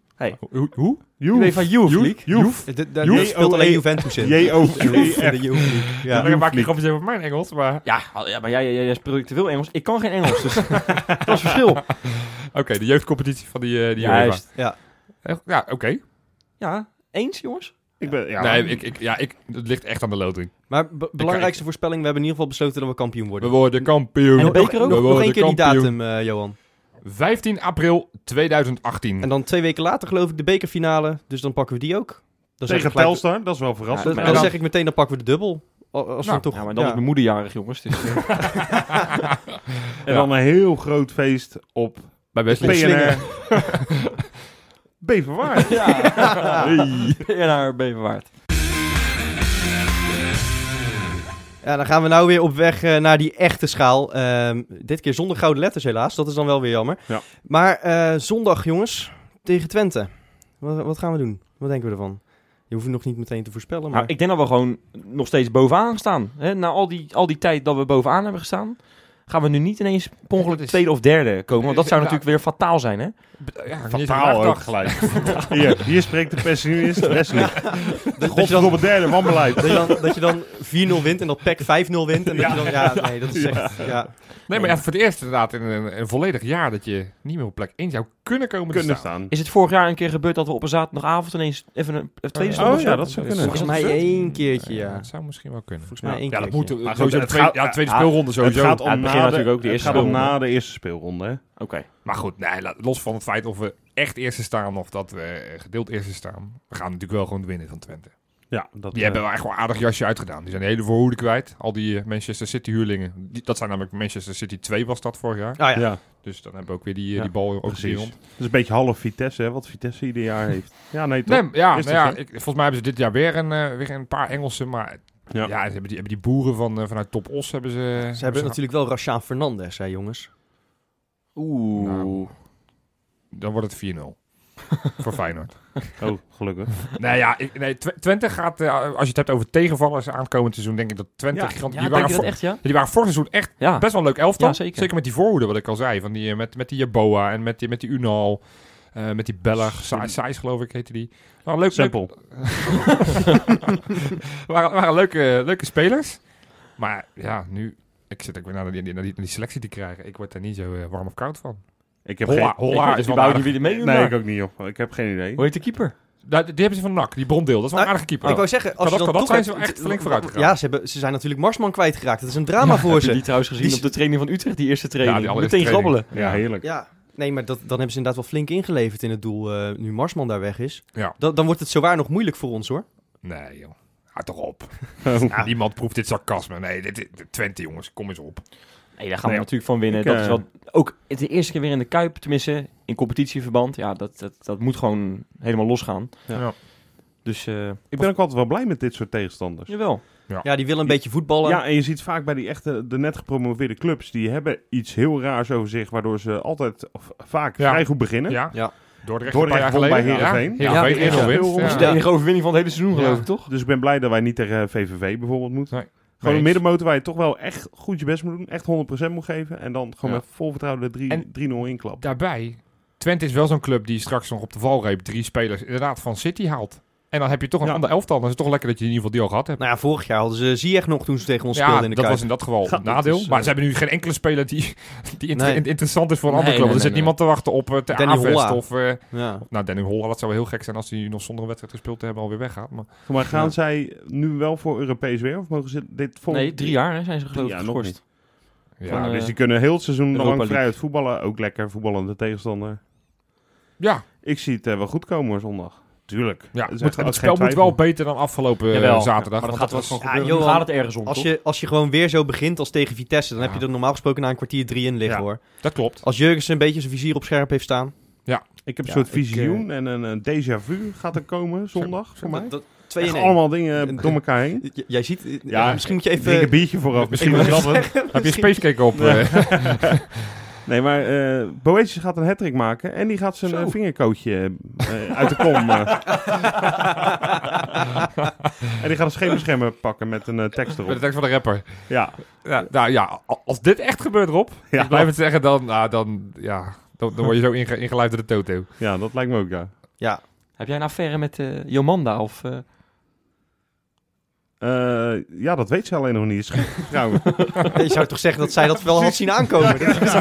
Speaker 4: Hoe? hoe?
Speaker 3: UEFA Youth League.
Speaker 1: Joef.
Speaker 2: D- Eh, Daar
Speaker 4: E
Speaker 1: Joef.
Speaker 2: daar speelt alleen
Speaker 1: Joef.
Speaker 2: Juventus in.
Speaker 1: J-O-E-F.
Speaker 2: De Joef League, Ja.
Speaker 4: Dan maak ik grapjes even op mijn Engels, maar...
Speaker 3: Ja, al- ja, maar jij, jij, jij spreekt te veel Engels. Ik kan geen Engels, dus dat is het verschil.
Speaker 4: Oké, de jeugdcompetitie van die, eh die UEFA.
Speaker 3: Juist.
Speaker 4: Echt? Ja, oké.
Speaker 3: Ja, eens jongens?
Speaker 1: Ik ben, ja.
Speaker 4: Nee, ik, ik, ja, ik, het ligt echt aan de loting.
Speaker 2: Maar be- belangrijkste voorspelling, we hebben in ieder geval besloten dat we kampioen
Speaker 4: We
Speaker 2: worden.
Speaker 4: worden kampioen.
Speaker 3: En de
Speaker 4: We
Speaker 3: beker ook?
Speaker 2: Nog, nog
Speaker 4: worden
Speaker 2: één keer die
Speaker 4: kampioen.
Speaker 2: datum, eh, Johan.
Speaker 4: 15 april 2018.
Speaker 2: En dan twee weken later geloof ik de bekerfinale. Dus dan pakken we die ook. Dan zeg,
Speaker 1: Tegen
Speaker 2: ik, gelijk-
Speaker 1: Telstar, dat is wel verrassend.
Speaker 3: Ja,
Speaker 2: dan,
Speaker 1: maar
Speaker 2: dan
Speaker 1: dan-
Speaker 2: zeg ik meteen, dan pakken we de dubbel. Al- Als we
Speaker 4: Nou,
Speaker 2: toch,
Speaker 3: Ja, maar dan
Speaker 2: ja.
Speaker 3: is mijn moeder jarig, jongens. Dus, eh,
Speaker 1: en dan een heel groot feest op
Speaker 4: Bij Wesley.
Speaker 1: PNR. Beverwaard.
Speaker 3: ja. Ja, naar Beverwaard.
Speaker 2: Ja, dan gaan we nou weer op weg eh, naar die echte schaal. Ehm, dit keer zonder gouden letters helaas, dat is dan wel weer jammer.
Speaker 1: Ja.
Speaker 2: Maar eh, zondag jongens, tegen Twente. Wat, wat gaan we doen? Wat denken we ervan? Je hoeft het nog niet meteen te voorspellen, maar...
Speaker 3: Nou, ik denk dat we gewoon nog steeds bovenaan staan. Hè? Na al die, al die tijd dat we bovenaan hebben gestaan, gaan we nu niet ineens per ongeluk
Speaker 4: Dat is-
Speaker 3: tweede of derde komen. Want dat zou natuurlijk weer fataal zijn, hè?
Speaker 4: Ja, niet eens aan
Speaker 1: Fataal ook
Speaker 4: nagedacht.
Speaker 1: gelijk. Hier, hier spreekt de pessimist Wesley.
Speaker 2: dat je dan-
Speaker 1: Godverdomme derde, wanbeleid.
Speaker 2: Dat je dan, dat je dan 4-0 wint en dat E PEC 5-0 wint. En dat je dan, ja, nee, dat is echt... Ja.
Speaker 4: Nee, maar ja, voor het eerst inderdaad in een, een volledig jaar dat je niet meer op plek 1 zou kunnen komen
Speaker 1: Kunnen
Speaker 4: te staan.
Speaker 1: staan.
Speaker 3: Is het vorig jaar een keer gebeurd dat we op een zaterdagavond ineens even een een tweede
Speaker 4: Eh,
Speaker 3: stonden?
Speaker 1: oh ja, dat zou kunnen.
Speaker 2: Volgens mij
Speaker 4: gebeurd?
Speaker 2: één keertje, ja.
Speaker 4: Eh, Dat zou misschien wel kunnen.
Speaker 2: Volgens mij één
Speaker 4: ja, dat
Speaker 2: keertje.
Speaker 4: moet
Speaker 1: Maar goed,
Speaker 4: sowieso
Speaker 1: het
Speaker 4: de tweede,
Speaker 1: gaat-
Speaker 4: ja, de tweede
Speaker 1: ja,
Speaker 4: speelronde sowieso.
Speaker 1: Het gaat om,
Speaker 3: Ja, het
Speaker 1: na,
Speaker 3: begint
Speaker 1: de,
Speaker 3: natuurlijk ook de
Speaker 1: het
Speaker 3: eerste
Speaker 1: gaat om
Speaker 3: speelronde.
Speaker 1: na de eerste speelronde. Hè?
Speaker 3: Oké.
Speaker 4: Maar goed, nee, la- los van het feit of we echt eerste staan of dat we eh, gedeeld eerste staan. We gaan natuurlijk wel gewoon winnen van Twente.
Speaker 1: Ja, dat,
Speaker 4: Die
Speaker 1: eh,
Speaker 4: hebben wel echt wel een aardig jasje uitgedaan. Die zijn de hele voorhoede kwijt. Al die eh, Manchester City huurlingen. Die- dat zijn namelijk Manchester City 2 was dat vorig jaar.
Speaker 2: Ah, ja.
Speaker 1: ja.
Speaker 4: Dus dan hebben we ook weer die, eh,
Speaker 1: Ja,
Speaker 4: die bal over
Speaker 1: precies.
Speaker 4: de rond.
Speaker 1: Dat is een beetje half Vitesse, hè, wat Vitesse ieder jaar heeft. Ja, nee, toch?
Speaker 4: Nee, maar ja,
Speaker 1: Is
Speaker 4: maar
Speaker 1: dat
Speaker 4: ja
Speaker 1: zo?
Speaker 4: ik- volgens mij hebben ze dit jaar weer een, eh, weer een paar Engelsen. Maar
Speaker 1: Ja.
Speaker 4: ja, ze hebben, die, hebben die boeren van, eh, vanuit Top Os hebben ze...
Speaker 2: Ze hebben natuurlijk wel Rashaan Fernandes, hè jongens.
Speaker 3: Oeh.
Speaker 4: Nou. Dan wordt het 4-0. voor Feyenoord.
Speaker 1: Oh, gelukkig.
Speaker 4: Nee, Nou ja, ik, nee, Tw- Twente gaat, eh, als je het hebt over tegenvallers aankomend seizoen, denk ik dat Twente...
Speaker 1: Ja,
Speaker 4: gigant-
Speaker 3: Ja,
Speaker 4: die,
Speaker 3: denk
Speaker 4: waren
Speaker 3: je
Speaker 4: voor,
Speaker 3: dat echt, ja?
Speaker 4: die waren vorig seizoen echt
Speaker 3: Ja.
Speaker 4: Best wel een leuk elftal.
Speaker 3: Ja,
Speaker 4: zeker.
Speaker 3: zeker.
Speaker 4: met die voorhoede, wat ik al zei. Van die, eh, met, met die Jaboa en met die, met die Unal. eh, met die Belg. Sa- Saïs, geloof ik, heette die. Waren leuk, leuk,
Speaker 1: Simpel.
Speaker 4: waren, waren leuke, leuke spelers. Maar ja, nu... Ik zit ook weer naar die, naar die, naar die selectie te krijgen. Ik word daar niet zo eh, warm of koud van.
Speaker 1: Ik heb
Speaker 4: Holla,
Speaker 1: geen...
Speaker 4: Holla is
Speaker 3: ik
Speaker 4: dus wel
Speaker 3: weet
Speaker 4: een
Speaker 3: überhaupt niet
Speaker 4: aardige-
Speaker 3: wie er meedoet.
Speaker 1: Nee,
Speaker 3: maar-
Speaker 1: ik ook niet, joh. Ik heb geen idee.
Speaker 3: Hoe heet de keeper?
Speaker 4: Nou, Die hebben ze van NAC, die brondeel. Dat is wel een
Speaker 2: Ah,
Speaker 4: aardige keeper.
Speaker 2: Ik wou zeggen, als
Speaker 4: Kan
Speaker 2: je
Speaker 4: dat-
Speaker 2: dan
Speaker 4: kan dat
Speaker 2: toch
Speaker 4: Oh. zijn
Speaker 2: hebt-
Speaker 4: ze echt flink vooruit gegaan.
Speaker 2: Ja, ze, hebben, ze zijn natuurlijk Marsman kwijtgeraakt. Dat is een drama voor
Speaker 3: Heb je
Speaker 2: ze.
Speaker 3: die trouwens gezien
Speaker 2: Die-
Speaker 3: op de training van Utrecht, die eerste
Speaker 4: Ja,
Speaker 3: training?
Speaker 4: die allereerste
Speaker 3: Meteen
Speaker 4: training.
Speaker 3: grabbelen.
Speaker 1: Ja, heerlijk.
Speaker 2: Ja, nee, maar dat, dan hebben ze inderdaad wel flink ingeleverd in het doel eh, nu Marsman daar weg is.
Speaker 4: Ja.
Speaker 2: Dan, dan wordt het zowaar nog moeilijk voor ons hoor.
Speaker 4: Nee, joh. Houd toch op. Niemand proeft dit sarcasme. Nee, dit, dit, Twente, jongens. Kom eens op.
Speaker 3: Nee, daar gaan
Speaker 1: Nee,
Speaker 3: we natuurlijk van winnen.
Speaker 1: ik,
Speaker 3: dat
Speaker 1: eh,
Speaker 3: is wel, ook het de eerste keer weer in de Kuip, tenminste, in competitieverband. Ja, dat, dat, dat moet gewoon helemaal losgaan.
Speaker 1: Ja.
Speaker 4: Ja.
Speaker 3: Dus, eh,
Speaker 1: Ik ben ook altijd wel blij met dit soort tegenstanders.
Speaker 3: jawel.
Speaker 2: Ja, die willen een beetje voetballen.
Speaker 1: Ja, en je ziet vaak bij die echte, de net gepromoveerde clubs, die hebben iets heel raars over zich, waardoor ze altijd of vaak
Speaker 4: Ja.
Speaker 1: vrij goed beginnen.
Speaker 4: Ja.
Speaker 2: Ja.
Speaker 4: Dordrecht, een paar
Speaker 1: Dordrecht
Speaker 4: jaar
Speaker 1: won
Speaker 4: geleden.
Speaker 1: bij Heerenveen.
Speaker 4: Ja,
Speaker 2: Ja,
Speaker 4: Heerenveen,
Speaker 2: ja.
Speaker 4: Heerenveen
Speaker 3: Dat is
Speaker 4: winst.
Speaker 3: de
Speaker 4: Ja.
Speaker 3: enige overwinning van het hele seizoen,
Speaker 4: Ja.
Speaker 3: geloof ik, toch?
Speaker 1: Dus ik ben blij dat wij niet tegen VVV bijvoorbeeld moeten.
Speaker 4: Nee.
Speaker 1: Gewoon een
Speaker 4: Eens.
Speaker 1: middenmotor waar je toch wel echt goed je best moet doen. Echt 100% moet geven. En dan gewoon
Speaker 4: Ja.
Speaker 1: met vol vertrouwen de drie- 3-0
Speaker 4: En-
Speaker 1: inklapt.
Speaker 4: Daarbij, Twente is wel zo'n club die straks nog op de valreep drie spelers inderdaad van City haalt. En dan heb je toch een
Speaker 1: Ja.
Speaker 4: ander elftal. Dan is het toch lekker dat je in ieder geval die al gehad hebt.
Speaker 2: Nou ja, vorig jaar hadden ze Ziyech nog toen ze tegen ons
Speaker 4: ja,
Speaker 2: speelden in de
Speaker 4: dat
Speaker 2: Kuip.
Speaker 4: was in dat
Speaker 1: Ja,
Speaker 4: geval het
Speaker 1: dat
Speaker 4: nadeel.
Speaker 1: is, eh,
Speaker 4: maar ze hebben nu geen enkele speler die, die inter-
Speaker 2: Nee.
Speaker 4: in- interessant is voor een
Speaker 3: Nee,
Speaker 4: andere club.
Speaker 3: nee,
Speaker 4: er zit
Speaker 3: nee,
Speaker 4: niemand te wachten op eh Ter
Speaker 2: Danny
Speaker 4: Avest
Speaker 2: Holla.
Speaker 4: of... eh,
Speaker 2: Ja.
Speaker 4: nou, Danny Holla, dat zou wel heel gek zijn als hij nog zonder een wedstrijd gespeeld te hebben alweer weggaat. Maar
Speaker 1: Maar gaan
Speaker 2: Ja.
Speaker 1: zij nu wel voor Europees weer? Of mogen ze dit volgende...
Speaker 3: Nee, drie jaar hè, zijn ze geloof ik
Speaker 1: jaar nog
Speaker 3: geschorst.
Speaker 4: ja,
Speaker 1: Ja,
Speaker 3: Van, eh,
Speaker 1: dus die kunnen heel het seizoen
Speaker 3: Europa
Speaker 1: lang
Speaker 3: League.
Speaker 1: vrij uit voetballen. Ook lekker voetballende tegenstander.
Speaker 4: ja,
Speaker 1: Ik zie het eh, wel goed komen hoor, zondag. Tuurlijk.
Speaker 4: ja.
Speaker 1: Er is echt
Speaker 4: Het, moet- het
Speaker 1: ook
Speaker 4: spel
Speaker 1: geen
Speaker 4: moet wel
Speaker 1: twijfel.
Speaker 4: beter dan afgelopen eh,
Speaker 3: Jawel.
Speaker 4: zaterdag.
Speaker 3: Maar dat gaat
Speaker 4: want dat
Speaker 3: wel
Speaker 4: was
Speaker 3: gewoon
Speaker 2: Ja,
Speaker 3: gebeuren.
Speaker 2: Johan,
Speaker 3: Nu gaat het ergens om,
Speaker 2: Als
Speaker 3: toch?
Speaker 2: je, als je gewoon weer zo begint als tegen Vitesse, dan heb je
Speaker 4: Ja.
Speaker 2: er normaal gesproken na een kwartier 3 in liggen
Speaker 1: Ja.
Speaker 2: hoor.
Speaker 4: Dat klopt.
Speaker 2: Als Jurgensen een beetje zijn vizier op scherp heeft staan.
Speaker 1: Ik heb een
Speaker 2: Ja,
Speaker 1: soort
Speaker 2: ik,
Speaker 1: visioen en een eh, déjà vu gaat er komen zondag voor mij.
Speaker 2: twee
Speaker 1: Echt allemaal dingen
Speaker 2: En-
Speaker 1: door elkaar heen.
Speaker 2: J- Jij ziet, eh,
Speaker 1: Ja,
Speaker 2: ja, misschien moet je
Speaker 1: Drink een
Speaker 2: even...
Speaker 1: biertje vooraf. Misschien
Speaker 2: wou
Speaker 1: wel grappig.
Speaker 4: Heb je spacecake op?
Speaker 1: Ja.
Speaker 4: eh?
Speaker 1: Nee, maar eh Boetius gaat een hattrick maken en die gaat zijn
Speaker 4: Zo.
Speaker 1: eh, vingerkootje eh, uit de kom. eh. en die gaat een schemerschermen pakken met een eh, tekst
Speaker 4: Met de
Speaker 1: erop.
Speaker 4: tekst van de rapper.
Speaker 1: Ja,
Speaker 4: Ja, nou ja, a- als dit echt gebeurt, Rob,
Speaker 1: ja.
Speaker 4: ik blijf het zeggen, dan, nou, dan, ja, dan, dan word je zo inge ingeleid door de Toto.
Speaker 1: ja, dat lijkt me ook, ja.
Speaker 3: Heb jij een affaire met eh, Jomanda of... eh,
Speaker 1: Eh, ja, dat weet ze alleen nog niet. Is gek, trouwens.
Speaker 2: Je zou toch zeggen dat zij dat wel had zien aankomen?
Speaker 1: Ja.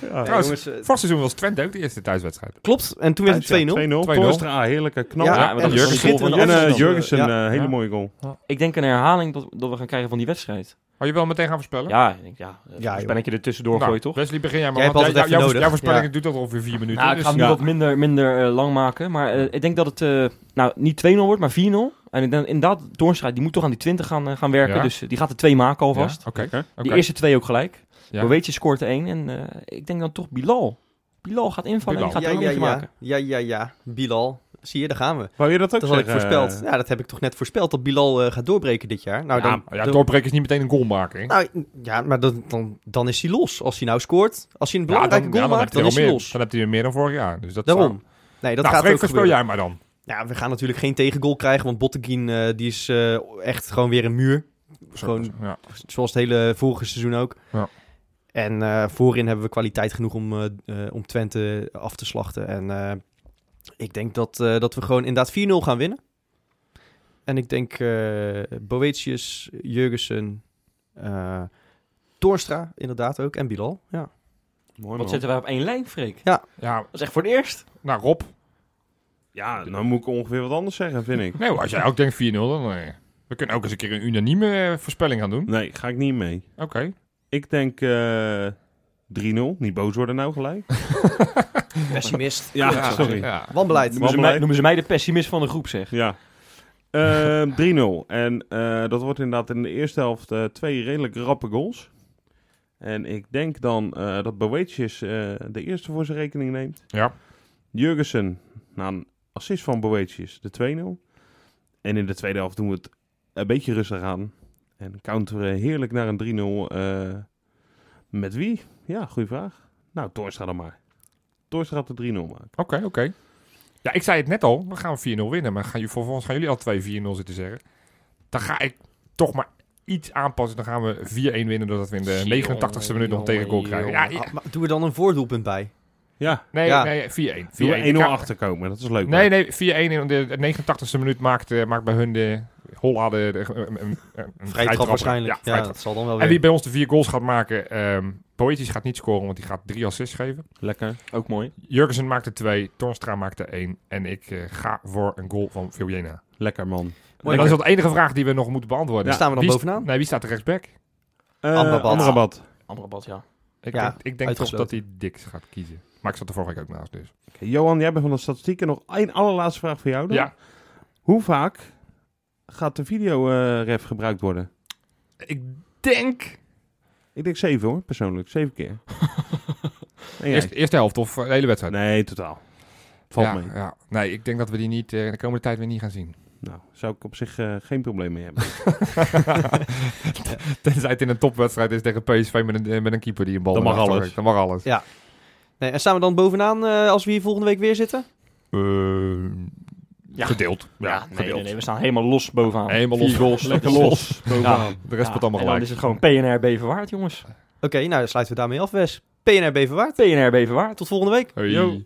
Speaker 2: Ja,
Speaker 4: Trouwens,
Speaker 2: jongens, eh,
Speaker 4: Vorig seizoen was Twente ook de eerste thuiswedstrijd.
Speaker 2: klopt, en toen werd het 2-0.
Speaker 1: 2-0.
Speaker 4: 2-0.
Speaker 1: Torstra, heerlijke knal.
Speaker 3: Ja, maar
Speaker 1: en
Speaker 3: dat is
Speaker 1: Jurgensen.
Speaker 3: een schitterende
Speaker 1: En eh,
Speaker 3: afstand.
Speaker 1: Jurgensen,
Speaker 2: Ja.
Speaker 1: eh, hele
Speaker 4: Ja.
Speaker 1: mooie goal.
Speaker 3: ik denk een herhaling dat, dat we gaan krijgen van die wedstrijd.
Speaker 4: Had je wel meteen gaan voorspellen?
Speaker 3: Ja, ik denk, ja. eh,
Speaker 2: Ja,
Speaker 3: ben ik je er tussendoor
Speaker 4: Nou,
Speaker 3: gooien, toch?
Speaker 4: Wesley, begin jij maar.
Speaker 2: Jij hebt
Speaker 4: want
Speaker 2: altijd
Speaker 4: jou-
Speaker 2: even
Speaker 4: jouw-
Speaker 2: nodig.
Speaker 4: Jouw voorspelling
Speaker 2: Ja.
Speaker 4: doet dat ongeveer vier minuten.
Speaker 3: Nou, ik
Speaker 4: dus-
Speaker 3: ga hem nu
Speaker 1: ja.
Speaker 3: wat minder, minder eh, lang maken. Maar eh, ik denk dat het eh, nou, niet 2-0 wordt, maar 4-0. En ik denk inderdaad, Doornstraat die moet toch aan die 20 gaan, eh, gaan werken.
Speaker 4: Ja.
Speaker 3: Dus eh, die gaat er twee maken
Speaker 4: Ja,
Speaker 3: alvast.
Speaker 4: Oké. oké.
Speaker 3: Die eerste twee ook gelijk.
Speaker 4: Ja.
Speaker 3: Ja. Boetje scoort er één. En eh, ik denk dan toch Bilal. Bilal gaat invallen
Speaker 4: Bilal.
Speaker 3: en die gaat er een eentje
Speaker 2: ja, ja, ja, ja. Bilal, zie je, daar gaan we.
Speaker 1: Wou je dat ook
Speaker 2: Dat had ik
Speaker 1: zeggen? Eh,
Speaker 2: voorspeld. Ja, dat heb ik toch net voorspeld, dat Bilal eh, gaat doorbreken dit jaar. Nou,
Speaker 4: eh, ja,
Speaker 2: dan,
Speaker 4: maar ja,
Speaker 2: dan-
Speaker 4: doorbreken is niet meteen een goal maken. hè?
Speaker 2: nou, ja maar dan, dan, dan is hij los. Als hij nou scoort, als hij een
Speaker 4: ja,
Speaker 2: belangrijke goal
Speaker 4: ja, dan
Speaker 2: maakt,
Speaker 4: heb
Speaker 2: dan
Speaker 4: je
Speaker 2: is
Speaker 4: er
Speaker 2: hij
Speaker 4: meer-
Speaker 2: los.
Speaker 4: Dan heb je er meer dan vorig jaar. Dus dat
Speaker 2: Daarom. Nee, dat
Speaker 4: Dat nou,
Speaker 2: gaat
Speaker 4: Freek,
Speaker 2: ook
Speaker 4: voorspel
Speaker 2: gebeuren.
Speaker 4: jij maar dan.
Speaker 2: Ja, we gaan natuurlijk geen tegengoal krijgen, want Botteguin eh, die is eh, echt gewoon weer een muur. Gewoon-
Speaker 4: Ja.
Speaker 2: Zoals het hele vorige seizoen ook.
Speaker 4: Ja.
Speaker 2: En eh, voorin hebben we kwaliteit genoeg om, eh, eh, om Twente af te slachten. En eh, ik denk dat, eh, dat we gewoon inderdaad 4-0 gaan winnen. En ik denk eh Boetius, Jurgensen, eh Torstra inderdaad ook en Bilal. Ja.
Speaker 1: Mooi, man.
Speaker 3: Wat zetten wij op één lijn, Freek?
Speaker 4: ja,
Speaker 3: Dat is echt voor het eerst.
Speaker 4: nou Rob.
Speaker 1: Ja, nou moet ik ongeveer wat anders zeggen, vind ik.
Speaker 4: Nee, als jij ook denkt 4-0, dan... eh, we kunnen ook eens een keer een unanieme eh, voorspelling gaan doen.
Speaker 1: Nee, ga ik niet mee.
Speaker 4: Oké.
Speaker 1: Ik denk eh 3-0. Niet boos worden nou gelijk.
Speaker 2: Pessimist.
Speaker 1: Ja, sorry. Ja.
Speaker 4: Ja.
Speaker 2: Wanbeleid.
Speaker 1: Maar-
Speaker 3: Noemen ze,
Speaker 1: blij-
Speaker 3: mij, noemen ze mij de pessimist van de groep, zeg.
Speaker 1: Eh, 3-0. En eh, dat wordt inderdaad in de eerste helft eh, twee redelijk rappe goals. En ik denk dan eh, dat Boetjes eh, de eerste voor zijn rekening neemt.
Speaker 4: Ja.
Speaker 1: Jurgensen, na een assist van Boetjes, de 2-0. En in de tweede helft doen we het een beetje rustig aan. En counteren heerlijk naar een 3-0. eh, met wie? Ja, goede vraag. Nou, Torstra dan maar. Torstra gaat de 3-0 maken.
Speaker 4: Oké, oké. Ja, ik zei het net al. We gaan 4-0 winnen. Maar gaan, jullie- vervolgens gaan jullie al 2-4-0 zitten zeggen. Dan ga ik toch maar iets aanpassen. Dan gaan we 4-1 winnen. Doordat we in de
Speaker 3: Jongen,
Speaker 4: 89ste minuut nog een tegengoal krijgen. Ja, ja.
Speaker 2: Ah, maar doe er dan een voordoelpunt bij.
Speaker 1: Ja,
Speaker 4: Nee,
Speaker 2: Ja.
Speaker 4: nee, 4-1. 4-1.
Speaker 1: die
Speaker 4: Ik
Speaker 1: 1-0
Speaker 4: ga-
Speaker 1: achterkomen. Dat is leuk.
Speaker 4: Nee, nee, 4-1 in de 89ste minuut maakt, eh, maakt bij hun de Holla de, de- een, een, een
Speaker 2: Vrij trap waarschijnlijk.
Speaker 4: Ja,
Speaker 2: Ja,
Speaker 4: vrijtrap.
Speaker 2: dat zal dan wel
Speaker 4: En
Speaker 2: weer.
Speaker 4: wie bij ons de vier goals gaat maken, ehm Poëtisch gaat niet scoren, want die gaat drie assists geven.
Speaker 1: Lekker.
Speaker 3: Ook mooi.
Speaker 4: Jurgensen maakt er twee, Tornstra maakt er één. En ik eh, ga voor een goal van Viljena.
Speaker 1: Lekker man.
Speaker 4: En dat is wel de enige vraag die we nog moeten beantwoorden.
Speaker 2: Dan staan we nog
Speaker 4: Wie-
Speaker 2: bovenaan.
Speaker 4: Nee, wie staat er rechtsback?
Speaker 1: Eh
Speaker 2: Amrabat.
Speaker 1: Amrabat.
Speaker 3: Amrabat, ja.
Speaker 4: Ik
Speaker 2: Ja,
Speaker 4: denk, ik denk toch
Speaker 2: uitgesloten.
Speaker 4: dat hij Dix gaat kiezen. Maar ik zat er vorige week ook naast dus.
Speaker 1: Oké, Johan, jij bent van de statistieken. Nog één allerlaatste vraag voor jou dan.
Speaker 4: Ja,
Speaker 1: Hoe vaak gaat de videoref gebruikt worden?
Speaker 4: ik denk...
Speaker 1: Ik denk zeven hoor, persoonlijk. Zeven keer. En jij?
Speaker 4: Eerst, eerste helft of eh, de hele wedstrijd?
Speaker 1: Nee, totaal. Valt
Speaker 4: ja,
Speaker 1: mee.
Speaker 4: ja. Nee, ik denk dat we die niet eh, de komende tijd weer niet gaan zien.
Speaker 1: Nou, zou ik op zich eh, geen probleem mee hebben.
Speaker 4: Tenzij het in een topwedstrijd is tegen PSV met een, eh, met een keeper die een bal
Speaker 1: Dan mag
Speaker 4: naar achter
Speaker 1: alles.
Speaker 4: werkt. Dan mag alles.
Speaker 2: Ja. Nee, en staan we dan bovenaan eh, als we hier volgende week weer zitten?
Speaker 4: Eh,
Speaker 3: Ja.
Speaker 4: Gedeeld. Ja,
Speaker 3: Ja, nee,
Speaker 4: gedeeld.
Speaker 3: nee, nee, we staan helemaal los bovenaan.
Speaker 4: Helemaal
Speaker 3: Vier
Speaker 4: los.
Speaker 3: goals,
Speaker 4: Lekker
Speaker 3: dat is-
Speaker 4: los.
Speaker 3: Ja.
Speaker 4: De rest wordt allemaal
Speaker 3: en dan
Speaker 4: gelijk.
Speaker 3: is het gewoon PNR Beverwaard, jongens.
Speaker 2: Eh, Oké, nou dan sluiten we daarmee af, Wes. PNR Beverwaard.
Speaker 3: PNR Beverwaard.
Speaker 2: Tot volgende week.
Speaker 4: Hey.
Speaker 1: Yo.